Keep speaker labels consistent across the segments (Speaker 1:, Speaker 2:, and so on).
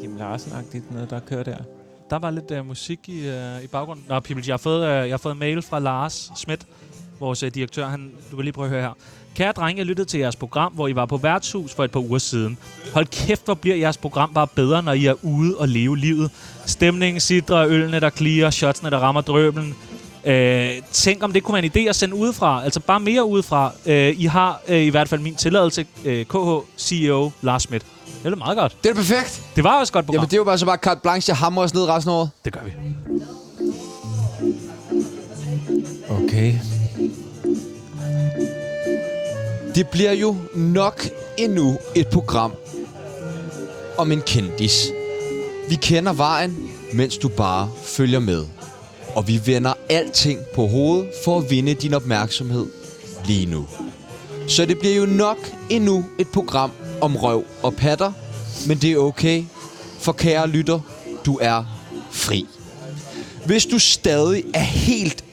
Speaker 1: Kim Larsen-agtigt noget, der kører der.
Speaker 2: Der var lidt uh, musik i, uh, i baggrunden. Nå, Pibels, jeg har fået, uh, jeg har fået en mail fra Lars Schmidt, vores uh, direktør. Han, du vil lige prøve at høre her. Kære drenge, jeg lyttede til jeres program, hvor I var på værtshus for et par uger siden. Hold kæft, hvor bliver jeres program bare bedre, når I er ude og leve livet. Stemningen sidder, ølene der klirer, shotsene der rammer drøbelen. Øh, tænk om det kunne være en idé at sende udefra, altså bare mere udefra. Øh, I har øh, i hvert fald min tilladelse, øh, KH CEO Lars Schmidt. Det er da meget godt.
Speaker 3: Det er da perfekt.
Speaker 2: Det var også et godt program.
Speaker 3: Jamen, det er jo bare så bare carte blanche, jeg hamrer os ned resten af året.
Speaker 2: det gør vi.
Speaker 1: Okay.
Speaker 3: Det bliver jo nok endnu et program om en kendis. Vi kender vejen, mens du bare følger med. Og vi vender alting på hovedet for at vinde din opmærksomhed lige nu. Så det bliver jo nok endnu et program om røv og patter, men det er okay, for kære lytter, du er fri. Hvis du stadig er helt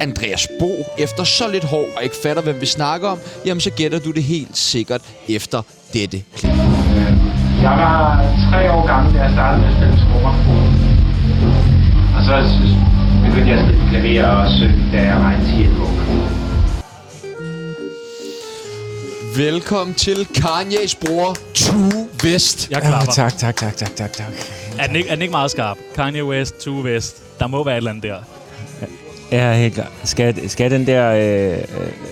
Speaker 3: Andreas Bo efter så lidt hår og ikke fatter, hvem vi snakker om, jamen så gætter du det helt sikkert efter dette klip.
Speaker 4: Jeg var tre år gammel, da jeg startede med at spille trommer. Og så s- begyndte jeg at spille klaver og synge, da jeg var en 10 år.
Speaker 3: Velkommen til Kanye's bror, Tue West.
Speaker 2: Jeg
Speaker 1: Ja,
Speaker 5: Ah,
Speaker 2: klapper.
Speaker 1: tak, tak, tak, tak, tak, tak.
Speaker 2: Er den, ikke, er den ikke meget skarp? Kanye West, Tue West. Der må være et eller andet der.
Speaker 1: Ja, helt klart.
Speaker 5: Skal, skal den der øh,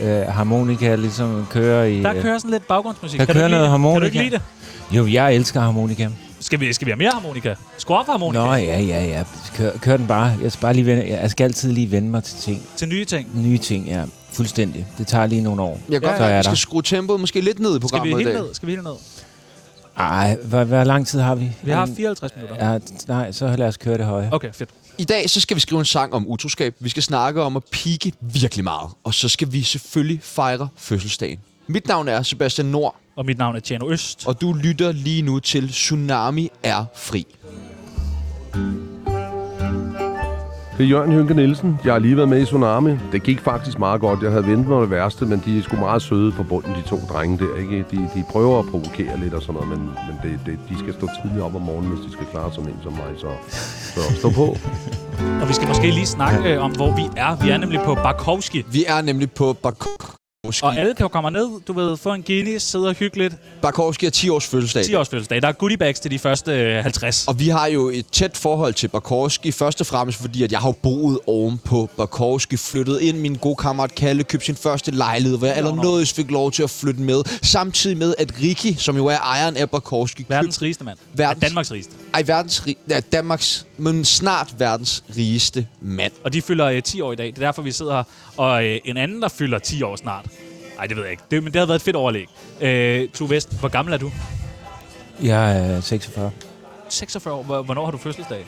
Speaker 5: øh, øh, harmonika ligesom køre i...
Speaker 2: Der kører sådan lidt baggrundsmusik.
Speaker 5: Der
Speaker 2: du
Speaker 5: kører
Speaker 2: ikke lide
Speaker 5: noget
Speaker 2: det? Kan du
Speaker 5: harmonika.
Speaker 2: ikke lide det?
Speaker 5: øh, Jo, jeg elsker harmonika.
Speaker 2: Skal vi, skal vi have mere harmonika? Skru op for harmonika
Speaker 5: Nå, ja, ja, ja. Kør, kør den bare. Jeg skal, bare lige vende, jeg skal altid lige vende mig til ting.
Speaker 2: til nye ting.
Speaker 5: Nye ting, ja. Fuldstændig. Det tager lige nogle år.
Speaker 3: Jeg kan
Speaker 5: så
Speaker 3: godt
Speaker 5: er
Speaker 3: ja,
Speaker 5: der.
Speaker 3: skal skrue tempoet måske lidt ned i
Speaker 2: Skal vi
Speaker 3: programmet i
Speaker 2: helt
Speaker 3: dag.
Speaker 2: ned? Skal vi helt ned?
Speaker 5: Ej, hvor, hvor lang tid har vi?
Speaker 2: Vi har
Speaker 5: En-
Speaker 2: 54 minutter.
Speaker 5: Ja, nej, så lad os køre det høje.
Speaker 2: Okay, fedt.
Speaker 3: I dag så skal vi skrive en sang om utroskab. Vi skal snakke om at pike virkelig meget. Og så skal vi selvfølgelig fejre fødselsdagen. Mit navn er Sebastian Nord,
Speaker 2: Og mit navn er Tjano Øst.
Speaker 3: og du lytter lige nu til Tsunami er fri.
Speaker 6: Det er Jørgen Hynke Nielsen. Jeg har lige været med i Tsunami. Det gik faktisk meget godt. Jeg havde ventet mig det værste, men de er sgu meget søde på bunden, de to drenge der. Ikke? De, de prøver at provokere lidt og sådan noget, men, men det, det, de skal stå tidligt op om morgenen, hvis de skal klare sådan en som mig. Så, så stå på.
Speaker 2: Og vi skal måske lige snakke øh, om, hvor vi er. Vi er nemlig på Barkowski.
Speaker 3: Vi er nemlig på Barkowski.
Speaker 2: Og alle kan jo komme ned, du ved, få en Guinness, sidde og hygge lidt.
Speaker 3: Barkowski har 10 års fødselsdag.
Speaker 2: 10 års fødselsdag. Der er goodie bags til de første øh, 50.
Speaker 3: Og vi har jo et tæt forhold til Barkowski, først og fremmest fordi, at jeg har jo boet oven på Barkowski, flyttet ind, min gode kammerat Kalle købte sin første lejlighed, hvor jeg allernådigst fik lov til at flytte med, samtidig med, at Rikki, som jo er ejeren af Barkowski,
Speaker 2: Verdens rigeste mand.
Speaker 3: Verdens-
Speaker 2: Ja, Danmarks rigeste.
Speaker 3: ej, verdens, rig- ja, Danmarks, men snart verdens rigeste mand.
Speaker 2: Og de fylder øh, 10 år i dag. Det er derfor, vi sidder her. Og øh, en anden, der fylder 10 år snart. Nej, det ved jeg ikke. Det, men det havde været et fedt overlæg. Øh, Tue Vest, hvor gammel er du?
Speaker 5: Jeg er øh, 46.
Speaker 2: 46 år. Hvor- Hvornår har du fødselsdag?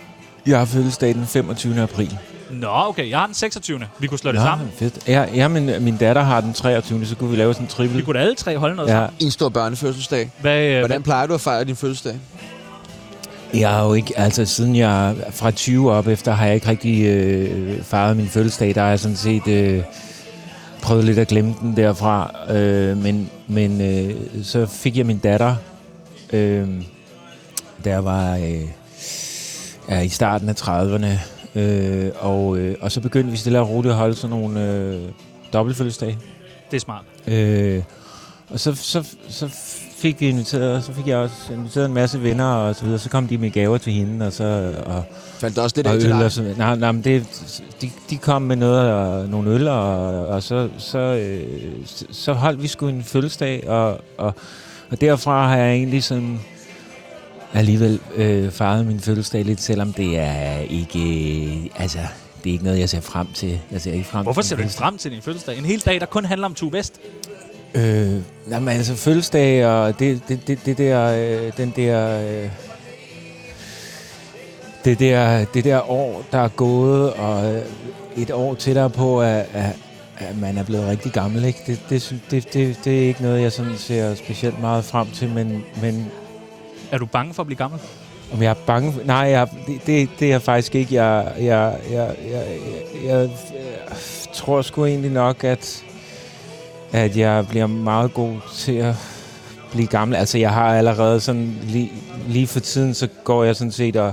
Speaker 5: Jeg har fødselsdag den 25. april.
Speaker 2: Nå, okay. Jeg har den 26. Vi kunne slå det
Speaker 5: Nå,
Speaker 2: sammen.
Speaker 5: fedt. Ja, ja øh, min, min datter har den 23. Så kunne vi lave sådan en
Speaker 2: Vi
Speaker 5: trippel.
Speaker 2: kunne da alle tre holde noget ja.
Speaker 5: Ja,
Speaker 2: sammen.
Speaker 3: En stor børnefødselsdag.
Speaker 2: Hvad, øh,
Speaker 3: Hvordan plejer du at fejre din fødselsdag?
Speaker 5: jeg har jo ikke, altså siden jeg er fra 20 op efter, har jeg ikke rigtig øh, fejret min fødselsdag. Der har jeg sådan set øh, prøvet lidt at glemme den derfra. Øh, men men øh, så fik jeg min datter, øh, da jeg var øh, ja, i starten af 30'erne. Øh, og, øh, og så begyndte vi stille og roligt at holde sådan nogle øh, dobbeltfødselsdage.
Speaker 2: Det er smart.
Speaker 5: Øh, og så, så, så fik vi inviteret, og så fik jeg også inviteret en masse venner og så videre. Så kom de med gaver til hende, og så og,
Speaker 3: Fandt der også lidt
Speaker 5: og
Speaker 3: af til
Speaker 5: øl og
Speaker 3: dig?
Speaker 5: sådan nej, nej, men det, de, de kom med noget og nogle øl, og, og så, så, øh, så- så holdt vi sgu en fødselsdag, og, og, og derfra har jeg egentlig sådan alligevel øh, fejret min fødselsdag lidt, selvom det er ikke, øh, altså, det er ikke noget, jeg ser frem til. Jeg ser ikke frem
Speaker 2: Hvorfor
Speaker 5: til
Speaker 2: ser
Speaker 5: min
Speaker 2: du ikke
Speaker 5: fødselsdag.
Speaker 2: frem til din fødselsdag? En hel dag, der kun handler om Tue Vest.
Speaker 5: Øh, jamen altså fødselsdag og det, det, det, det der, øh, den der, øh, det der, det der år, der er gået, og øh, et år tættere på, at, at, at man er blevet rigtig gammel, ikke? Det, det, synes- det, det, det er ikke noget, jeg sådan ser specielt meget frem til, men, men
Speaker 2: Er du bange for at blive gammel?
Speaker 5: om jeg er bange for... Nej, jeg, det, det, det er jeg faktisk ikke. Jeg, jeg, jeg, jeg, jeg, jeg, jeg tror sgu egentlig nok, at, at jeg bliver meget god til at blive gammel. Altså, jeg har allerede sådan... Lige, lige for tiden, så går jeg sådan set og,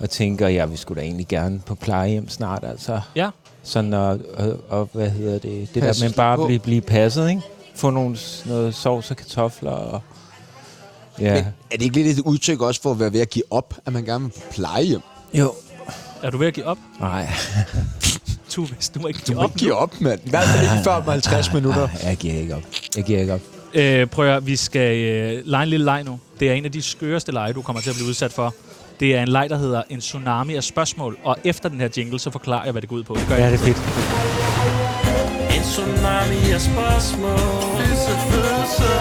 Speaker 5: og tænker, ja, vi skulle da egentlig gerne på plejehjem snart, altså.
Speaker 2: Ja.
Speaker 5: Sådan og, og, og hvad hedder det? Det
Speaker 3: Passe
Speaker 5: der med
Speaker 3: lidt
Speaker 5: bare
Speaker 3: på.
Speaker 5: at blive, blive passet, ikke? Få nogle, s- noget sovs og kartofler og... Ja.
Speaker 3: Men er det ikke lidt et udtryk også for at være ved at give op, at man gerne vil på plejehjem?
Speaker 5: Jo.
Speaker 2: Er du ved at give op?
Speaker 5: Nej,
Speaker 2: Du, hvis du må ikke
Speaker 3: Du
Speaker 2: give
Speaker 3: må
Speaker 2: op.
Speaker 3: ikke give op, mand. I hvert fald ikke før om 50 minutter.
Speaker 5: Ah, jeg giver ikke op. Jeg giver ikke op.
Speaker 2: Øh, prøv at høre, vi skal øh, lege en lille leg nu. Det er en af de skøreste lege, du kommer til at blive udsat for. Det er en leg, der hedder En tsunami af spørgsmål. Og efter den her jingle, så forklarer jeg, hvad det går ud på. Det gør jeg.
Speaker 5: Ja, det er fedt.
Speaker 7: En tsunami af spørgsmål Fødsel, fødsel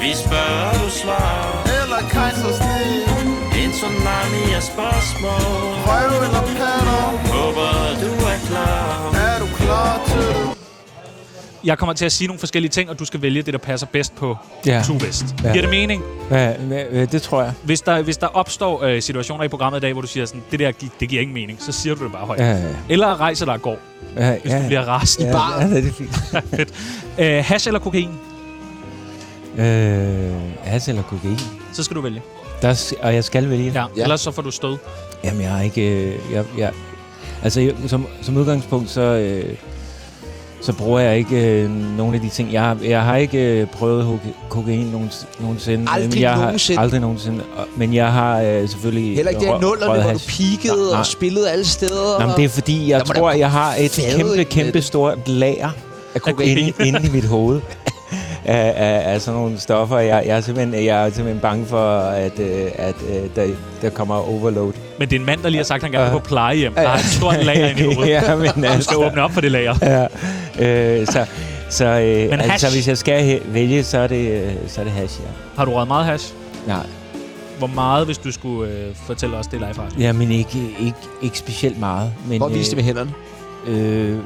Speaker 7: Vi spørger, du svarer Eller kejsersnit En tsunami af spørgsmål Røv eller patter Håber, du er klar Er du klar til det?
Speaker 2: Jeg kommer til at sige nogle forskellige ting, og du skal vælge det, der passer bedst på
Speaker 5: Ja.
Speaker 2: Tuvest.
Speaker 5: Ja.
Speaker 2: Giver det mening?
Speaker 5: Ja, men, øh, det tror jeg.
Speaker 2: Hvis der, hvis der opstår øh, situationer i programmet i dag, hvor du siger sådan, det der gi- det giver ingen mening, så siger du det bare højt.
Speaker 5: Ja, ja,
Speaker 2: Eller rejser dig og går,
Speaker 5: ja.
Speaker 2: hvis ja. du bliver rasende.
Speaker 5: ja,
Speaker 3: barn.
Speaker 5: Ja, det er fint.
Speaker 2: Ja. Øh, hash eller kokain,
Speaker 5: Øh, has eller kokain?
Speaker 2: så skal du vælge.
Speaker 5: Der, s- og jeg skal vælge.
Speaker 2: Ja. ja. Ellers så får du stød.
Speaker 5: Jamen, jeg har ikke... Øh, jeg, jeg, altså, jeg, som, som udgangspunkt, så, øh, så bruger jeg ikke øh, nogen af de ting. Jeg, har- jeg har ikke øh, prøvet hoke- kokain nogens, nogensinde.
Speaker 3: Aldrig
Speaker 5: men jeg
Speaker 3: nogensinde?
Speaker 5: Har, aldrig nogensinde. Og- Men jeg har øh, selvfølgelig...
Speaker 3: Heller ikke det
Speaker 5: rø-
Speaker 3: her nullerne,
Speaker 5: røget
Speaker 3: hvor du
Speaker 5: hash.
Speaker 3: peakede
Speaker 5: Nej, nej.
Speaker 3: og spillede alle steder.
Speaker 5: Nå, men det er fordi, jeg
Speaker 3: Der må da
Speaker 5: tror,
Speaker 3: komme
Speaker 5: jeg har et
Speaker 3: fade ind
Speaker 5: kæmpe,
Speaker 3: med
Speaker 5: kæmpe
Speaker 3: det.
Speaker 5: stort lager
Speaker 3: af kokain.
Speaker 5: inde, inde i mit hoved af, af, af sådan nogle stoffer. Jeg, jeg, er simpelthen, jeg er simpelthen bange for, at, øh, at øh, der, der kommer overload.
Speaker 2: Men det er en mand, der lige har sagt, at han gerne vil
Speaker 5: Ja.
Speaker 2: på plejehjem. Der er et stort lager inde i hovedet.
Speaker 5: ja, men
Speaker 2: Du skal
Speaker 5: altså...
Speaker 2: åbne op for det lager.
Speaker 5: Ja, øh, så så øh,
Speaker 2: Men
Speaker 5: altså,
Speaker 2: hash?
Speaker 5: hvis jeg skal he- vælge, så er det, øh, så er det hash, ja.
Speaker 2: Har du røget meget hash?
Speaker 5: Nej,
Speaker 2: Hvor meget, hvis du skulle øh, fortælle os det live faktisk?
Speaker 5: ja, men ikke, ikke, ikke specielt meget. Men,
Speaker 3: Hvor viste det med hænderne?
Speaker 5: øh,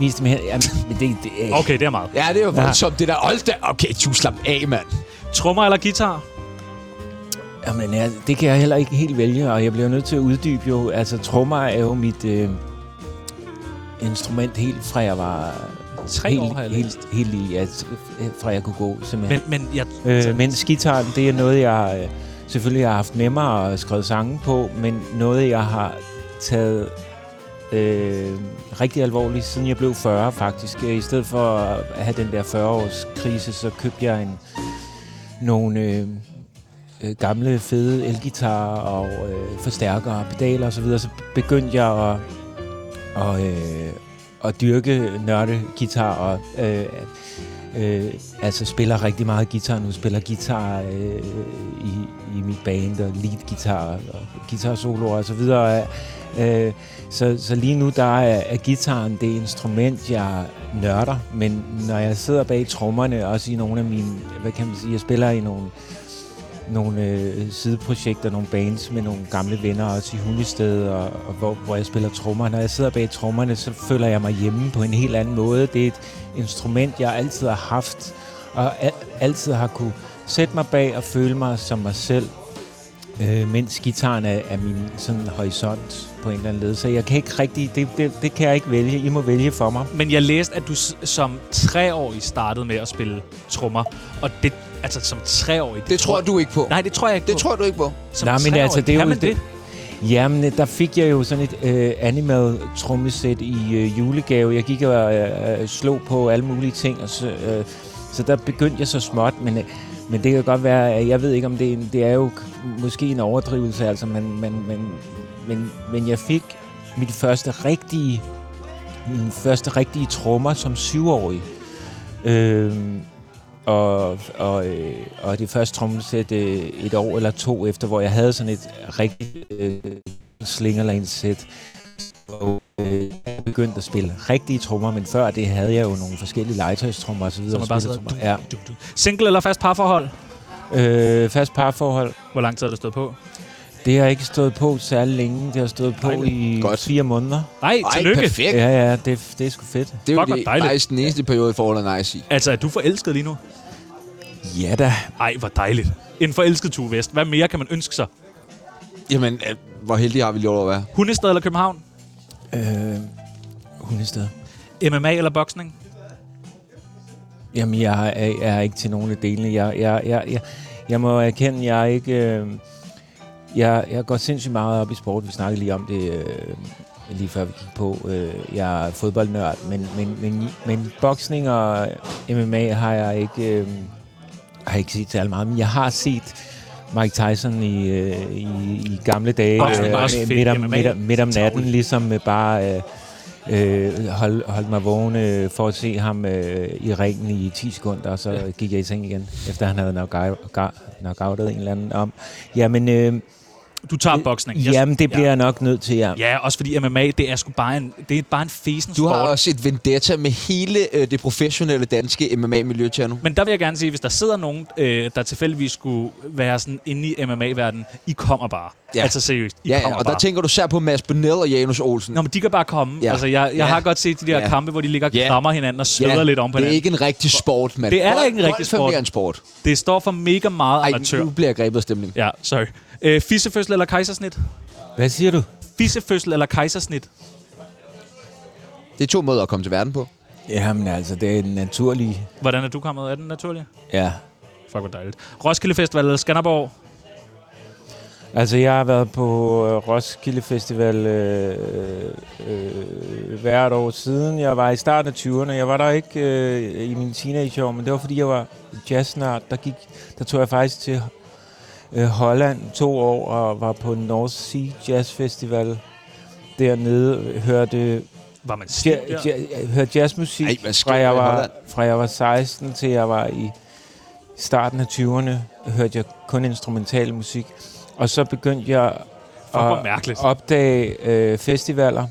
Speaker 5: Vis dem her. Jamen, men det, det, øh,
Speaker 2: Okay, det er meget.
Speaker 3: Ja, det er jo voldsomt, det der. Hold da. Okay, du slap af, mand.
Speaker 2: Trummer eller guitar?
Speaker 5: Jamen, ja, det kan jeg heller ikke helt vælge, og jeg bliver nødt til at uddybe jo. Altså, trommer er jo mit øh, instrument helt fra jeg var...
Speaker 2: Tre
Speaker 5: helt,
Speaker 2: år har jeg læst.
Speaker 5: helt, helt lille, ja, t- fra jeg kunne gå,
Speaker 2: Men,
Speaker 5: simpelthen.
Speaker 2: men jeg...
Speaker 5: Men, øh, mens guitaren, det er noget, jeg øh, selvfølgelig har haft med mig og skrevet sange på, men noget, jeg har taget øh, rigtig alvorligt, siden jeg blev 40 faktisk. Øh, I stedet for at have den der 40-års krise, så købte jeg en, nogle øh, øh, gamle fede elgitarer og øh, forstærkere og pedaler osv., så, så begyndte jeg at, og, øh, at dyrke nørde guitar og øh, øh, altså spiller rigtig meget guitar nu, spiller guitar øh, i, i mit band og lead guitar og guitar soloer og så videre. Øh, så, så lige nu der er, er gitaren det instrument, jeg nørder, men når jeg sidder bag trommerne, også i nogle af mine, hvad kan man sige, jeg spiller i nogle nogle øh, sideprojekter, nogle bands med nogle gamle venner også i Hundested, og, og hvor, hvor jeg spiller trommer. Når jeg sidder bag trommerne, så føler jeg mig hjemme på en helt anden måde. Det er et instrument, jeg altid har haft, og al- altid har kunne sætte mig bag og føle mig som mig selv, øh, mens gitaren er, er min sådan horisont på en eller anden led. Så jeg kan ikke rigtig, det, det, det kan jeg ikke vælge. I må vælge for mig.
Speaker 2: Men jeg læste, at du s- som treårig startede med at spille trommer. Og det, altså som treårig...
Speaker 3: Det tror du ikke på.
Speaker 2: Nej, det tror jeg ikke
Speaker 3: Det
Speaker 2: på.
Speaker 3: tror du ikke på.
Speaker 2: Som
Speaker 5: Nej, men
Speaker 2: treårig,
Speaker 5: altså, det er
Speaker 2: kan
Speaker 5: jo-
Speaker 2: man det?
Speaker 5: Jamen, øh, der fik jeg jo sådan et øh, animal trommesæt i øh, julegave. Jeg gik og øh, øh, slog på alle mulige ting, og så, øh, så der begyndte jeg så småt, men, øh, men det kan godt være, at jeg ved ikke, om det er, en, det er jo k- måske en overdrivelse, altså, men, men, men, men, men jeg fik mit første rigtige, min første rigtige trommer som syvårig. Øh, og, og, øh, og det første trommesæt øh, et år eller to efter, hvor jeg havde sådan et rigtigt øh, slingerlandsæt. Og øh, jeg begyndte at spille rigtige trommer, men før det havde jeg jo nogle forskellige legetøjstrommer osv.
Speaker 2: Så man bare sidder...
Speaker 5: Spillertrommer, ja.
Speaker 2: Du, du, du. Single eller fast parforhold?
Speaker 5: øh, fast parforhold,
Speaker 2: Hvor lang tid har du stået på?
Speaker 5: det har ikke stået på særlig længe. Det har stået på
Speaker 2: Ej, det
Speaker 5: i
Speaker 3: godt.
Speaker 5: fire måneder.
Speaker 2: Nej,
Speaker 3: Ej,
Speaker 2: tillykke.
Speaker 3: perfekt.
Speaker 5: Ja, ja, det, det er sgu fedt.
Speaker 3: Det er
Speaker 2: Fuck,
Speaker 3: jo
Speaker 2: hvor
Speaker 3: det,
Speaker 2: dejligt.
Speaker 3: faktisk den eneste periode i forholdet er nice i.
Speaker 2: Altså, er du forelsket lige nu?
Speaker 5: Ja da.
Speaker 2: Ej, hvor dejligt. En forelsket Tue Vest. Hvad mere kan man ønske sig?
Speaker 3: Jamen, øh, hvor heldig har vi lov at være.
Speaker 2: Hundestad eller København?
Speaker 5: Øh, hun er stadig.
Speaker 2: MMA eller boksning?
Speaker 5: Jamen, jeg er, jeg er ikke til nogen af delene. Jeg, jeg, jeg, jeg, jeg må erkende, jeg er ikke... Øh, jeg, jeg går sindssygt meget op i sport. Vi snakkede lige om det, øh, lige før vi gik på. Øh, jeg er fodboldnørd, men, men, men, men boksning og MMA har jeg ikke, øh, har ikke set særlig meget. Men jeg har set Mike Tyson i, øh, i, i gamle dage
Speaker 2: Boksning er også
Speaker 5: øh,
Speaker 2: fedt.
Speaker 5: midt, om,
Speaker 2: MMA.
Speaker 5: midt, om, midt om natten,
Speaker 2: Travlt.
Speaker 5: ligesom øh, bare... Øh, øh, hold, holdt mig vågen øh, for at se ham øh, i ringen i 10 sekunder, og så ja. gik jeg i seng igen, efter han havde knock- ga- knockoutet en eller anden om. Jamen, øh,
Speaker 2: Du tager boksning. Jeg-
Speaker 5: jamen det bliver
Speaker 2: Ja.
Speaker 5: jeg nok nødt til, ja.
Speaker 2: Ja, også fordi MMA, det er sgu bare en, det er bare en fesen
Speaker 3: Du
Speaker 2: sport.
Speaker 3: har også et vendetta med hele øh, det professionelle danske MMA-miljø, Tjerno.
Speaker 2: Men der vil jeg gerne sige, hvis der sidder nogen, øh, der tilfældigvis skulle være sådan inde i MMA-verdenen, I kommer bare. Ja.
Speaker 3: Ja.
Speaker 2: Altså seriøst, I
Speaker 3: Ja,
Speaker 2: kommer
Speaker 3: ja, og
Speaker 2: bare.
Speaker 3: der tænker du særligt på Mads Benel og Janus Olsen.
Speaker 2: Nå, men de kan bare komme. Ja.
Speaker 3: Ja.
Speaker 2: Altså, jeg, jeg ja.
Speaker 3: Ja.
Speaker 2: har godt set de der ja.
Speaker 3: Ja.
Speaker 2: kampe, hvor de ligger og
Speaker 3: Ja.
Speaker 2: krammer hinanden og sveder ja. lidt om på
Speaker 3: det er
Speaker 2: hinanden.
Speaker 3: ikke en rigtig sport, mand.
Speaker 2: Det er da
Speaker 3: Golf-
Speaker 2: ikke en rigtig
Speaker 3: golf
Speaker 2: sport.
Speaker 3: mere en sport.
Speaker 2: Det står for mega meget
Speaker 3: Ej,
Speaker 2: amatør.
Speaker 3: nu bliver jeg grebet af stemning.
Speaker 2: Ja, sorry. Øh, fissefødsel eller kejsersnit?
Speaker 5: Hvad siger du?
Speaker 2: Fissefødsel eller kejsersnit?
Speaker 3: Det er to måder at komme til verden på.
Speaker 5: Jamen altså, det er en naturlig...
Speaker 2: Hvordan er du kommet? Er den naturlig?
Speaker 5: Ja.
Speaker 2: Fuck, hvor dejligt. Roskilde Festival eller Skanderborg?
Speaker 5: Altså, jeg har været på øh, Roskilde Festival øh, øh, hvert år siden. Jeg var i starten af 20'erne. Jeg var der ikke øh, i mine teenageår, men det var, fordi jeg var jazznart. Der, gik, der tog jeg faktisk til øh, Holland to år og var på North Sea Jazz Festival. Dernede hørte
Speaker 2: Var man stiv
Speaker 5: ja,
Speaker 2: der?
Speaker 5: ja, jeg hørte jazzmusik
Speaker 3: Ej, hvad sker
Speaker 5: fra,
Speaker 3: der
Speaker 5: jeg
Speaker 3: i
Speaker 5: var,
Speaker 3: Holland?
Speaker 5: fra jeg var 16 til jeg var i starten af 20'erne, hørte jeg kun instrumental musik. Og så begyndte jeg
Speaker 2: Fuck, hvor
Speaker 5: at
Speaker 2: mærkeligt.
Speaker 5: opdage øh, festivaler.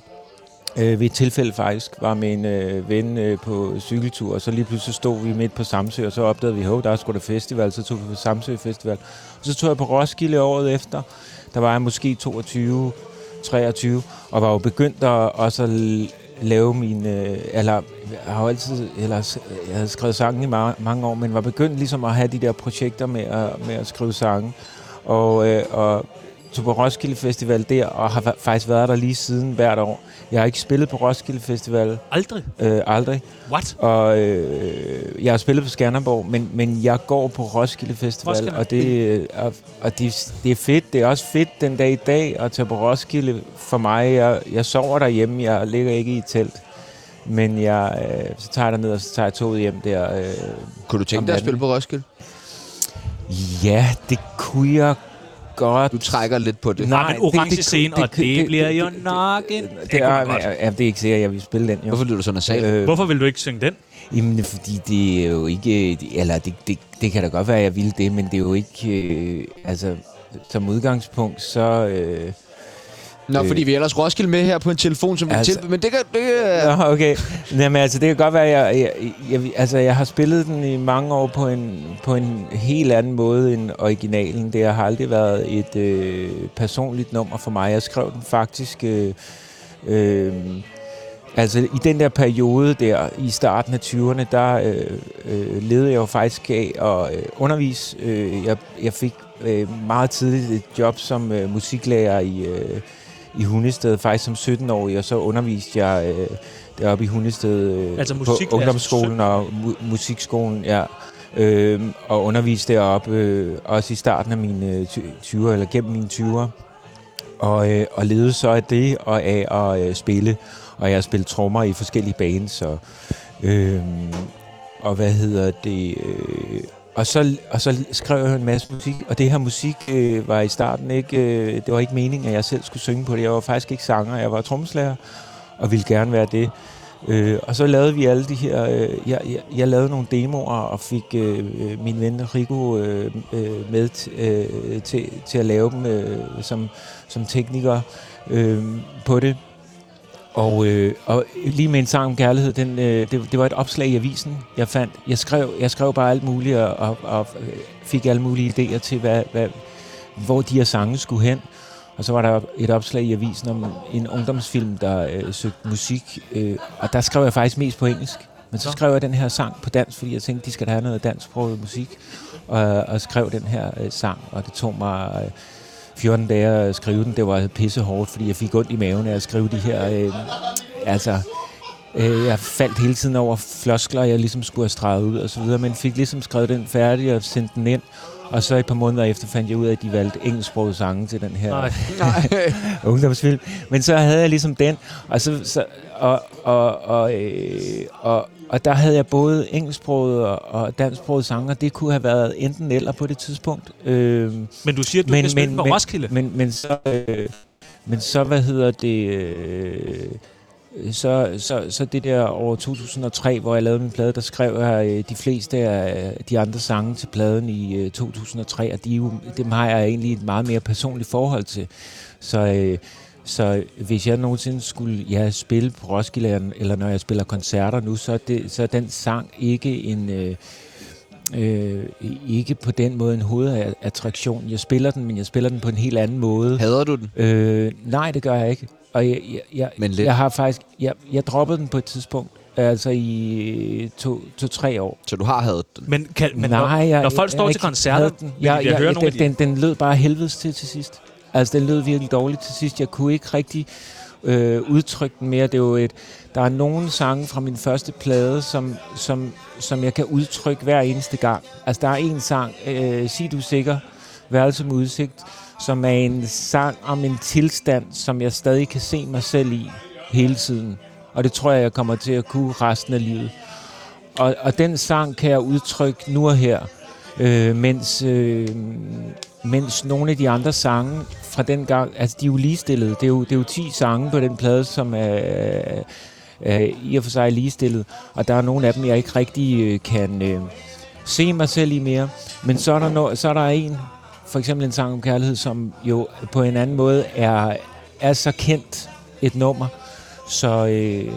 Speaker 5: Øh, ved et tilfælde faktisk var med en øh, ven øh, på cykeltur, og så lige pludselig stod vi midt på Samsø, og så opdagede vi, at der er sgu da festival, så tog vi på Samsø Festival. Og så tog jeg på Roskilde året efter, der var jeg måske 22, 23, og var jo begyndt at også at l- lave min, øh, eller jeg har jo altid, eller s- jeg havde skrevet sange i ma- mange år, men var begyndt ligesom at have de der projekter med at, med at skrive sange, og, øh, og tog på Roskilde Festival der, og har fa- faktisk været der lige siden hvert år. Jeg har ikke spillet på Roskilde Festival,
Speaker 2: Aldrig.
Speaker 5: øh, aldrig,
Speaker 2: What?
Speaker 5: og øh, jeg har spillet på Skanderborg, men, men jeg går på Roskilde Festival,
Speaker 2: Roskilde.
Speaker 5: Roskilde. og, det, øh, og, og det, det er fedt. Det er også fedt den dag i dag at tage på Roskilde for mig. Jeg, jeg sover derhjemme, jeg ligger ikke i et telt, men jeg, øh, så tager jeg ned og så tager jeg toget hjem der. Øh.
Speaker 3: Kunne du tænke
Speaker 5: Om
Speaker 3: dig at
Speaker 5: natten.
Speaker 3: spille på Roskilde?
Speaker 5: Ja, det kunne jeg godt.
Speaker 3: Du trækker lidt på det.
Speaker 2: Nej, men
Speaker 5: det-
Speaker 2: orange
Speaker 5: det- det-
Speaker 2: scene, og
Speaker 5: det- det-
Speaker 2: det
Speaker 5: det-
Speaker 2: bliver
Speaker 5: det-
Speaker 2: jo
Speaker 5: det- det-
Speaker 2: nok en...
Speaker 5: Det
Speaker 2: kunne
Speaker 5: er,
Speaker 2: man godt.
Speaker 5: ja, det er ikke sikkert, jeg vil spille den, jo.
Speaker 3: Hvorfor lyder du så nasal?
Speaker 5: Øh,
Speaker 2: Hvorfor vil du ikke synge den?
Speaker 5: Jamen, fordi det er jo ikke... det- Eller det, det, det kan da godt være, at jeg ville det, men det er jo ikke... Øh, altså, som udgangspunkt, så... Øh,
Speaker 3: Nå, fordi vi har ellers Roskilde med her på en telefon, som altså,
Speaker 5: Altså-
Speaker 3: vi tilbyder. Men det kan... Det, kan-
Speaker 5: Nå, okay. Jamen, altså, det kan godt være, at jeg, jeg, jeg, altså, jeg har spillet den i mange år på en, på en helt anden måde end originalen. Det har aldrig været et øh, personligt nummer for mig. Jeg skrev den faktisk... Øh, øh, altså, i den der periode der, i starten af 20'erne, der øh, øh, levede jeg jo faktisk af at øh, undervise. Øh, jeg, jeg fik øh, meget tidligt et job som øh, musiklærer i... Øh, i Hundested, faktisk som 17-årig, og så underviste jeg øh, deroppe i Hundested øh,
Speaker 2: Altså
Speaker 5: på
Speaker 2: musiklærer som
Speaker 5: ungdomsskolen og mu- musikskolen, ja. Øhm, og underviste deroppe øh, også i starten af mine øh, ty- 20'er, eller gennem mine 20'er. Og, øh, og levede så af det og af at øh, spille. Og jeg har spillet trommer i forskellige bands. Og, øh, og hvad hedder det... Øh, og så, og så skrev jeg en masse musik, og det her musik øh, var i starten ikke, øh, det var ikke meningen, at jeg selv skulle synge på det. Jeg var faktisk ikke sanger, jeg var tromslærer, og ville gerne være det. Øh, og så lavede vi alle de her, øh, jeg, jeg, jeg lavede nogle demoer og fik øh, øh, min ven Rico øh, øh, med t- øh, til, til at lave dem øh, som, som tekniker øh, på det. Og, øh, og lige med en sang om kærlighed, den, øh, det, det var et opslag i avisen, jeg fandt. Jeg skrev, jeg skrev bare alt muligt og, og, og øh, fik alle mulige idéer til, hvad, hvad, hvor de her sange skulle hen. Og så var der et opslag i avisen om en ungdomsfilm, der øh, søgte musik. Øh, og der skrev jeg faktisk mest på engelsk. Men så skrev jeg den her sang på dansk, fordi jeg tænkte, de skal da have noget dansksproget musik. Og, og skrev den her øh, sang, og det tog mig... Øh, 14 dage at skrive den, det var pisse hårdt, fordi jeg fik ondt i maven af at skrive de her, øh, altså Øh, jeg faldt hele tiden over floskler, jeg ligesom skulle have streget ud og så videre, men fik ligesom skrevet den færdig og sendt den ind. Og så et par måneder efter fandt jeg ud af, at de valgte engelsksprogede sange til den her
Speaker 2: Nej.
Speaker 5: ungdomsfilm. Men så havde jeg ligesom den, og, så, så, og, og, og, øh, og, og der havde jeg både engelsksproget og, og dansksproget sanger. Det kunne have været enten eller på det tidspunkt. Øh,
Speaker 2: Men du siger, at du
Speaker 5: Men-
Speaker 2: men, kan spille
Speaker 5: men-
Speaker 2: på
Speaker 5: men-
Speaker 2: Roskilde.
Speaker 5: men, men, så, øh, men så, hvad hedder det... Øh, så, så, så det der år 2003, hvor jeg lavede min plade, der skrev jeg øh, de fleste af øh, de andre sange til pladen i øh, 2003, og de, er jo- dem har jeg egentlig et meget mere personligt forhold til. Så, øh, så hvis jeg nogensinde skulle ja, spille på Roskilde, eller når jeg spiller koncerter nu, så er, det, så er den sang ikke en... Øh, øh, ikke på den måde en hovedattraktion. Jeg spiller den, men jeg spiller den på en helt anden måde.
Speaker 3: Hader du den?
Speaker 5: Øh, nej, det gør jeg ikke. Og jeg, jeg, jeg,
Speaker 3: Men lidt.
Speaker 5: jeg har faktisk... Jeg, jeg droppede den på et tidspunkt, altså i to-tre to, tre år.
Speaker 3: Så du har hadet den?
Speaker 2: Men, kan, men når,
Speaker 5: jeg,
Speaker 2: når folk
Speaker 5: jeg
Speaker 2: står til
Speaker 5: ikke
Speaker 2: koncerter,
Speaker 5: havde
Speaker 2: vil de da høre nogle af
Speaker 5: den,
Speaker 2: de-
Speaker 5: den, den lød bare helvedes til til sidst. Altså, den lød virkelig dårligt til sidst. Jeg kunne ikke rigtig øh, udtrykke den mere. Det er jo et, der er nogle sange fra min første plade, som, som, som jeg kan udtrykke hver eneste gang. Altså, der er en sang, øh, Sig du er sikker, Værelse med udsigt, som er en sang om en tilstand, som jeg stadig kan se mig selv i hele tiden. Og det tror jeg, jeg kommer til at kunne resten af livet. Og, og den sang kan jeg udtrykke nu og her, øh, mens, øh, mens nogle af de andre sange fra den gang, altså de er jo ligestillede. Det er jo, det er jo 10 sange på den plade, som er, er i og for sig ligestillet. Og der er nogle af dem, jeg ikke rigtig øh, kan øh, se mig selv i mere. Men så er der, no, så er der en, for eksempel en sang om kærlighed, som jo på en anden måde er, er så kendt et nummer. Så... Øh,